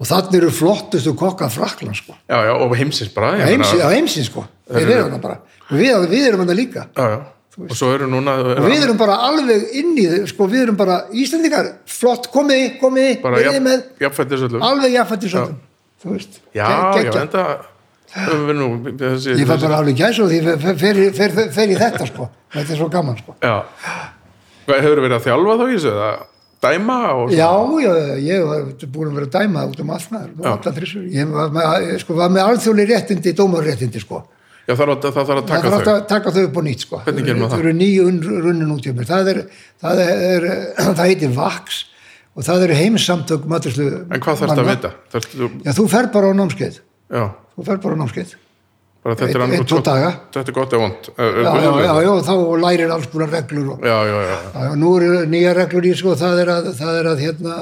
Speaker 2: Og þannig eru flottustu kokka fraklan, sko.
Speaker 1: Já, já, og heimsins bara. ég
Speaker 2: Heimsins,
Speaker 1: meina-
Speaker 2: á heimsins, sko. Við erum hana bara. Og Við, við erum hana líka.
Speaker 1: Já, já. Og svo eru núna...
Speaker 2: Og við erum bara alveg inn í þau, sko, við erum bara Íslandingar, flott, komiði, komiði,
Speaker 1: bara
Speaker 2: verðið með,
Speaker 1: jafnfættis öllu.
Speaker 2: alveg jafnfættir svo, þú veist,
Speaker 1: Já,
Speaker 2: Ge-
Speaker 1: já,
Speaker 2: geggjað.
Speaker 1: enda... höfum Við nú, þessi,
Speaker 2: Ég fæ
Speaker 1: þessi-
Speaker 2: bara alveg gæs og því fer, fer, fer, fer, fer í þetta, sko, þetta er svo gaman, sko.
Speaker 1: Já. Hvað hefur verið að þjálfa þá í þessu? Eða dæma og...
Speaker 2: Já, já, ég var búin að vera að dæma út um allt maður,
Speaker 1: Já.
Speaker 2: alltaf þrissur, ég var með, sko, var með alþjóðli réttindi, dómarréttindi, sko.
Speaker 1: Já, það þarf að, það þarf að
Speaker 2: Það
Speaker 1: taka
Speaker 2: þarf
Speaker 1: þau.
Speaker 2: alltaf að taka þau upp á nýtt sko.
Speaker 1: Hvernig gerir maður það?
Speaker 2: eru nýju runnin út hjá mér. Það, er, það, er, það heitir VAX og það eru um heimsamtök matrislu.
Speaker 1: En hvað þarfst að vita? Þarfst, þú,
Speaker 2: Já, þú fer bara á námskeið.
Speaker 1: já,
Speaker 2: Þú fer bara á námskeið.
Speaker 1: bara þetta er
Speaker 2: Eitt-
Speaker 1: annað
Speaker 2: eitt, tvo daga.
Speaker 1: Þetta er gott eða vond.
Speaker 2: Já, já, já, já, þá lærir alls búin reglur og
Speaker 1: já, já, já.
Speaker 2: já, já, nú eru nýja reglur í sko, það er að, það er að hérna,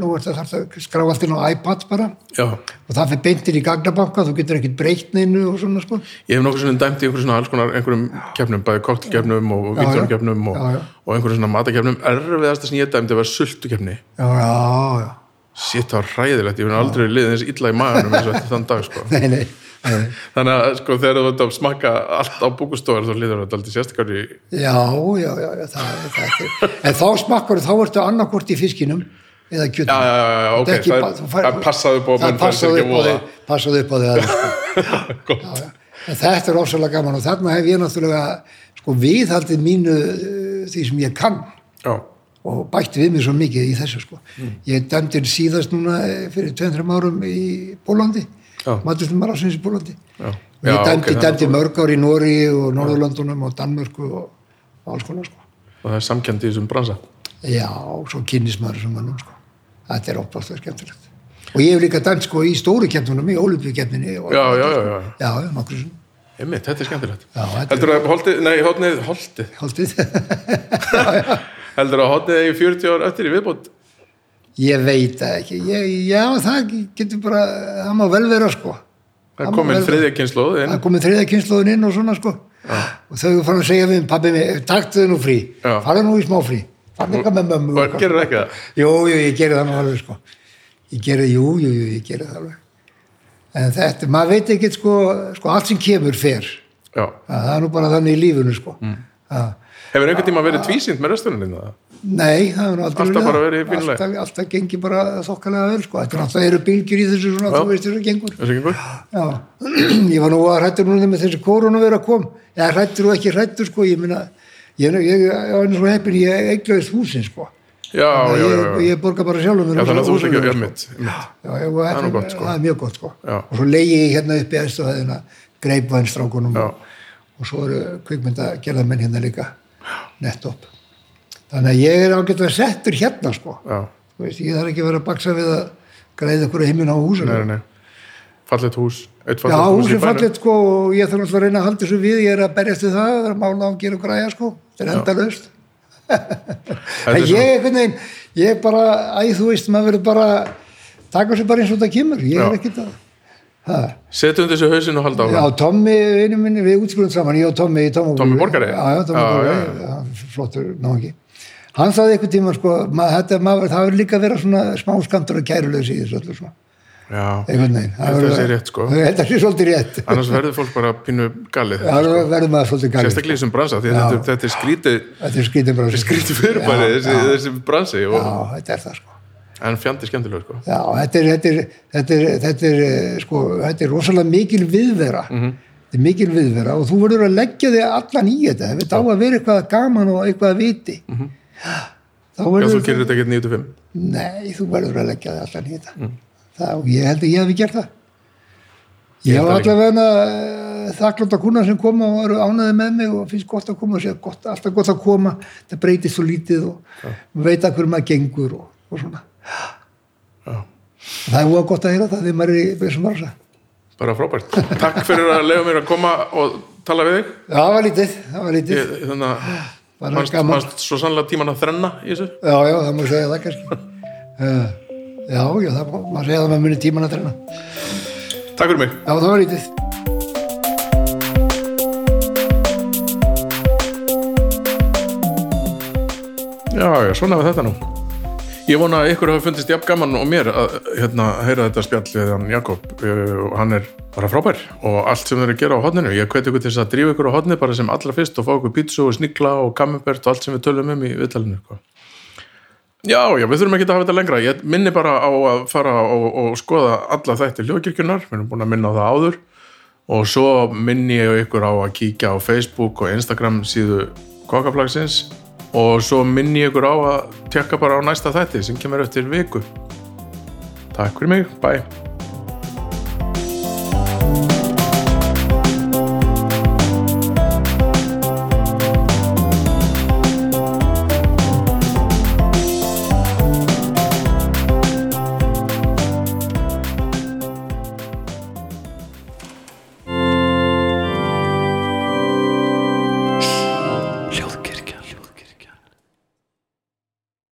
Speaker 2: nú er það þarf að skrá allt inn á iPad bara
Speaker 1: Já,
Speaker 2: og það fyrir beintir í gagnabanka, þú getur ekkert breytt neinu og svona sko.
Speaker 1: ég hef nokkuð svona dæmt í einhverjum svona alls konar einhverjum keppnum, bæði koktelkeppnum og
Speaker 2: já.
Speaker 1: vítjónkeppnum og,
Speaker 2: Já, já.
Speaker 1: og einhverjum svona matakeppnum erfiðast að snýja dæmt að vera sultukeppni
Speaker 2: Já, já, já.
Speaker 1: Sitt, það var hræðilegt, ég finn aldrei liðið eins illa í maðurum eins og eftir þann dag, sko.
Speaker 2: nei, nei, nei.
Speaker 1: Þannig að, sko, þegar þú ert að smakka allt á búkustofar, þá líður þetta aldrei sérstakar í...
Speaker 2: Já, já, já, já það, er- það er en þá smakkar þá ertu annarkvort í fiskinum eða
Speaker 1: Já,
Speaker 2: kjötum
Speaker 1: já, já, já, ok,
Speaker 2: Þetta er ekki
Speaker 1: það,
Speaker 2: ba-
Speaker 1: er,
Speaker 2: þú fær-
Speaker 1: það er passaðu búið að
Speaker 2: það
Speaker 1: menn færi sér
Speaker 2: passaði
Speaker 1: ekki að voða.
Speaker 2: upp á þig passaði upp á þig aðeins, sko.
Speaker 1: Gott.
Speaker 2: en þetta er ofsalega gaman og þarna hef ég náttúrulega sko viðhaldið mínu eh, því sem ég kann
Speaker 1: Já,
Speaker 2: og bætti við mér svo mikið í þessu sko.
Speaker 1: Mm.
Speaker 2: ég dæmdi síðast núna eh, fyrir 2-3 árum í Bólandi
Speaker 1: Já.
Speaker 2: maturlum marasins í Bólandi
Speaker 1: já.
Speaker 2: og ég
Speaker 1: Já, ok,
Speaker 2: dæmdi,
Speaker 1: þannig að
Speaker 2: dæmdi mörg ár í Nóri og Norðurlandunum og Danmörku og, og alls konar sko.
Speaker 1: þú- Það er samkjöndi í þessum bransa.
Speaker 2: já, svo kynnis maður sem mannum sko. þetta er óbáslega skemmtilegt og ég hef líka dæmt sko í stóru kemdunum í ólupjukemdinni
Speaker 1: Já, já, já, já.
Speaker 2: já, já, nokkur sem
Speaker 1: Einmitt, þetta er skemmtilegt.
Speaker 2: Já, þetta er-
Speaker 1: Heldur að holdið, nei, hodnið, holdið.
Speaker 2: haldið
Speaker 1: Heldur að hodnið eigi 40 ár eftir í viðbót.
Speaker 2: ég veit það ekki ég, já, það getur bara það má vel vera sko
Speaker 1: Það
Speaker 2: Það
Speaker 1: er
Speaker 2: má
Speaker 1: komin
Speaker 2: vel vera.
Speaker 1: þriðja kynnslóð inn.
Speaker 2: það komið þriða kynnslóðin inn og svona sko og þau eru farin að segja við um pabbi mig taktu þau nú frí,
Speaker 1: Já.
Speaker 2: farðu nú í smá frí farðu eitthvað með mömmu og
Speaker 1: Og
Speaker 2: eitthvað."
Speaker 1: gerir ekki það.
Speaker 2: jú, jú, ég geri það nú alveg sko ég geri, jú, jú, jú, ég geri það alveg en þetta, maður veit ekki sko, sko allt sem kemur fer það,
Speaker 1: Já.
Speaker 2: það er nú bara þannig í lífunu sko
Speaker 1: Mm.
Speaker 2: það
Speaker 1: Hefur einhvern tíma verið tvísýnd með resturinn það?
Speaker 2: Nei, það er aldrei
Speaker 1: Alltaf
Speaker 2: verið
Speaker 1: bara
Speaker 2: það.
Speaker 1: verið í fínu lagi.
Speaker 2: alltaf, alltaf gengi bara þokkalega vel sko. Þetta er alltaf eru bylgjur í þessu svona,
Speaker 1: Já.
Speaker 2: þú veist þessu gengur
Speaker 1: Er það ekki einhver?
Speaker 2: Já, ég var nú að hrættur núna með þessi korona vera að kom eða hrættur og ekki hrættur sko, ég minna ég, ég, ég, ég var eins og heppin, ég eiglaðist húsin sko.
Speaker 1: Já, já, já,
Speaker 2: ég,
Speaker 1: já.
Speaker 2: ég borga bara sjálfum mér
Speaker 1: Já, þannig að þú ert
Speaker 2: húsinu,
Speaker 1: ekki
Speaker 2: sko.
Speaker 1: ömmit.
Speaker 2: Já, ég, það,
Speaker 1: er nú gott, sko.
Speaker 2: það er mjög gott sko.
Speaker 1: Já.
Speaker 2: og svo leigi ég hérna upp í aðstofæðina greipvænstrákunum
Speaker 1: Já.
Speaker 2: og, og svo eru kvikmynda gerðamenn hérna líka nett upp þannig að ég er ágætt að settur hérna sko.
Speaker 1: Já,
Speaker 2: Þú veist, ég þarf ekki að vera að baksa við að greiða okkur heiminn á húsinu
Speaker 1: nei, nei. Fallið hús. Eitt
Speaker 2: já,
Speaker 1: fallið hús í
Speaker 2: húsinu
Speaker 1: bænum.
Speaker 2: fallið sko, og ég þarf náttúrulega að reyna að halda þessu við ég er að berjast við það, það er að mála á að gera og græja sko. þetta er endalaust
Speaker 1: Þetta
Speaker 2: En
Speaker 1: er
Speaker 2: ég, einhvern veginn, ég er bara, æ, þú veist, maður verður bara, taka sér bara eins og það kemur, ég
Speaker 1: Já.
Speaker 2: er ekkert að, ha,
Speaker 1: Setjum þessu hausinn og halda á
Speaker 2: já, Tommi, einu minni, við útskrifum saman, ég og Tommi, Tommi,
Speaker 1: Tommi borgari?
Speaker 2: Já, já, Tommi
Speaker 1: Já,
Speaker 2: Borgari,
Speaker 1: já,
Speaker 2: já, flottur, ná ekki. Hann sagði einhvern tíma, sko, maður, þetta, maður, það verður líka að vera svona smá skamtur og kærulegs í þessu öllu, svona,
Speaker 1: Já,
Speaker 2: einhvern veginn.
Speaker 1: Ég held að
Speaker 2: verður-
Speaker 1: það sé rétt, sko.
Speaker 2: Ég held að það sé svolítið rétt.
Speaker 1: annars verður fólk bara pínu gallið.
Speaker 2: Það verður maður svolítið gæri.
Speaker 1: Sérstaklega í þessum bransa, því að þetta, þetta er skrítið,
Speaker 2: Þetta er skrítið bara.
Speaker 1: skrítið fyrirbæri, þessi, þessi bransi.
Speaker 2: Já,
Speaker 1: Og,
Speaker 2: þetta er það, sko.
Speaker 1: en fjandi skemmtilega, sko.
Speaker 2: Já, þetta er, þetta er, þetta er, þetta er, eh, sko, þetta er rosalega mikil viðvera.
Speaker 1: Mhm.
Speaker 2: Þetta er mikil viðvera og þú verður að leggja þig allan í þetta. Ef þetta á að vera eitthvað gaman og eitthvað að viti. Þá
Speaker 1: Mhm. Já,
Speaker 2: verður
Speaker 1: þú gerir þetta ekki 9-5.
Speaker 2: Nei, þú verður að leggja þig allan í þetta.
Speaker 1: Mm.
Speaker 2: Það, og ég held að ég hefði gert það. Ég
Speaker 1: held
Speaker 2: hef
Speaker 1: það líka.
Speaker 2: allavega þakklátt að kuna sem koma og eru ánaði með mig og finnst gott að koma og sé gott, alltaf gott að koma, það breytist svo lítið og veit að hverju maður gengur og, og svona.
Speaker 1: Já.
Speaker 2: Það er óa gott að heyra það þegar maður er í þessum marsa.
Speaker 1: Bara frábært. Takk fyrir að leiða mér að koma og tala við þig.
Speaker 2: Já, það var lítið, það var lítið.
Speaker 1: Ég, þannig að
Speaker 2: Bara
Speaker 1: manst,
Speaker 2: gaman.
Speaker 1: manst svo sannlega tíman að þrenna í þessu.
Speaker 2: Já, já, það má segja það kannski. Uh, já, já, það má maður segja það með munni tíman að treyna. Já,
Speaker 1: Takk fyrir mig.
Speaker 2: hérna. það var lítið.
Speaker 1: Já, já, svona var þetta nú. Ég vona að ykkur hafi fundist jafn gaman og mér að hérna, heyra þetta spjall við hann Jakob Eh, og hann er bara frábær og allt sem þeir eru að gera á hodninu. Ég hveti ykkur til þess að drífa ykkur á hodni bara sem allra fyrst og fá ykkur pítsu og snigla og kamembert og allt sem við tölum um í viðtalinu. Sko. Já, já, við þurfum ekki að hafa þetta lengra. Ég minni bara á að fara og, og skoða alla þætti hljóðkirkjunar. Við erum búin að minna á það áður og svo minni ég ykkur á að kíkja á Facebook og Instagram síðu kokkaflagsins og svo minni ég ykkur á að tjekka bara á næsta þætti sem kemur eftir viku Takk fyrir mig, bye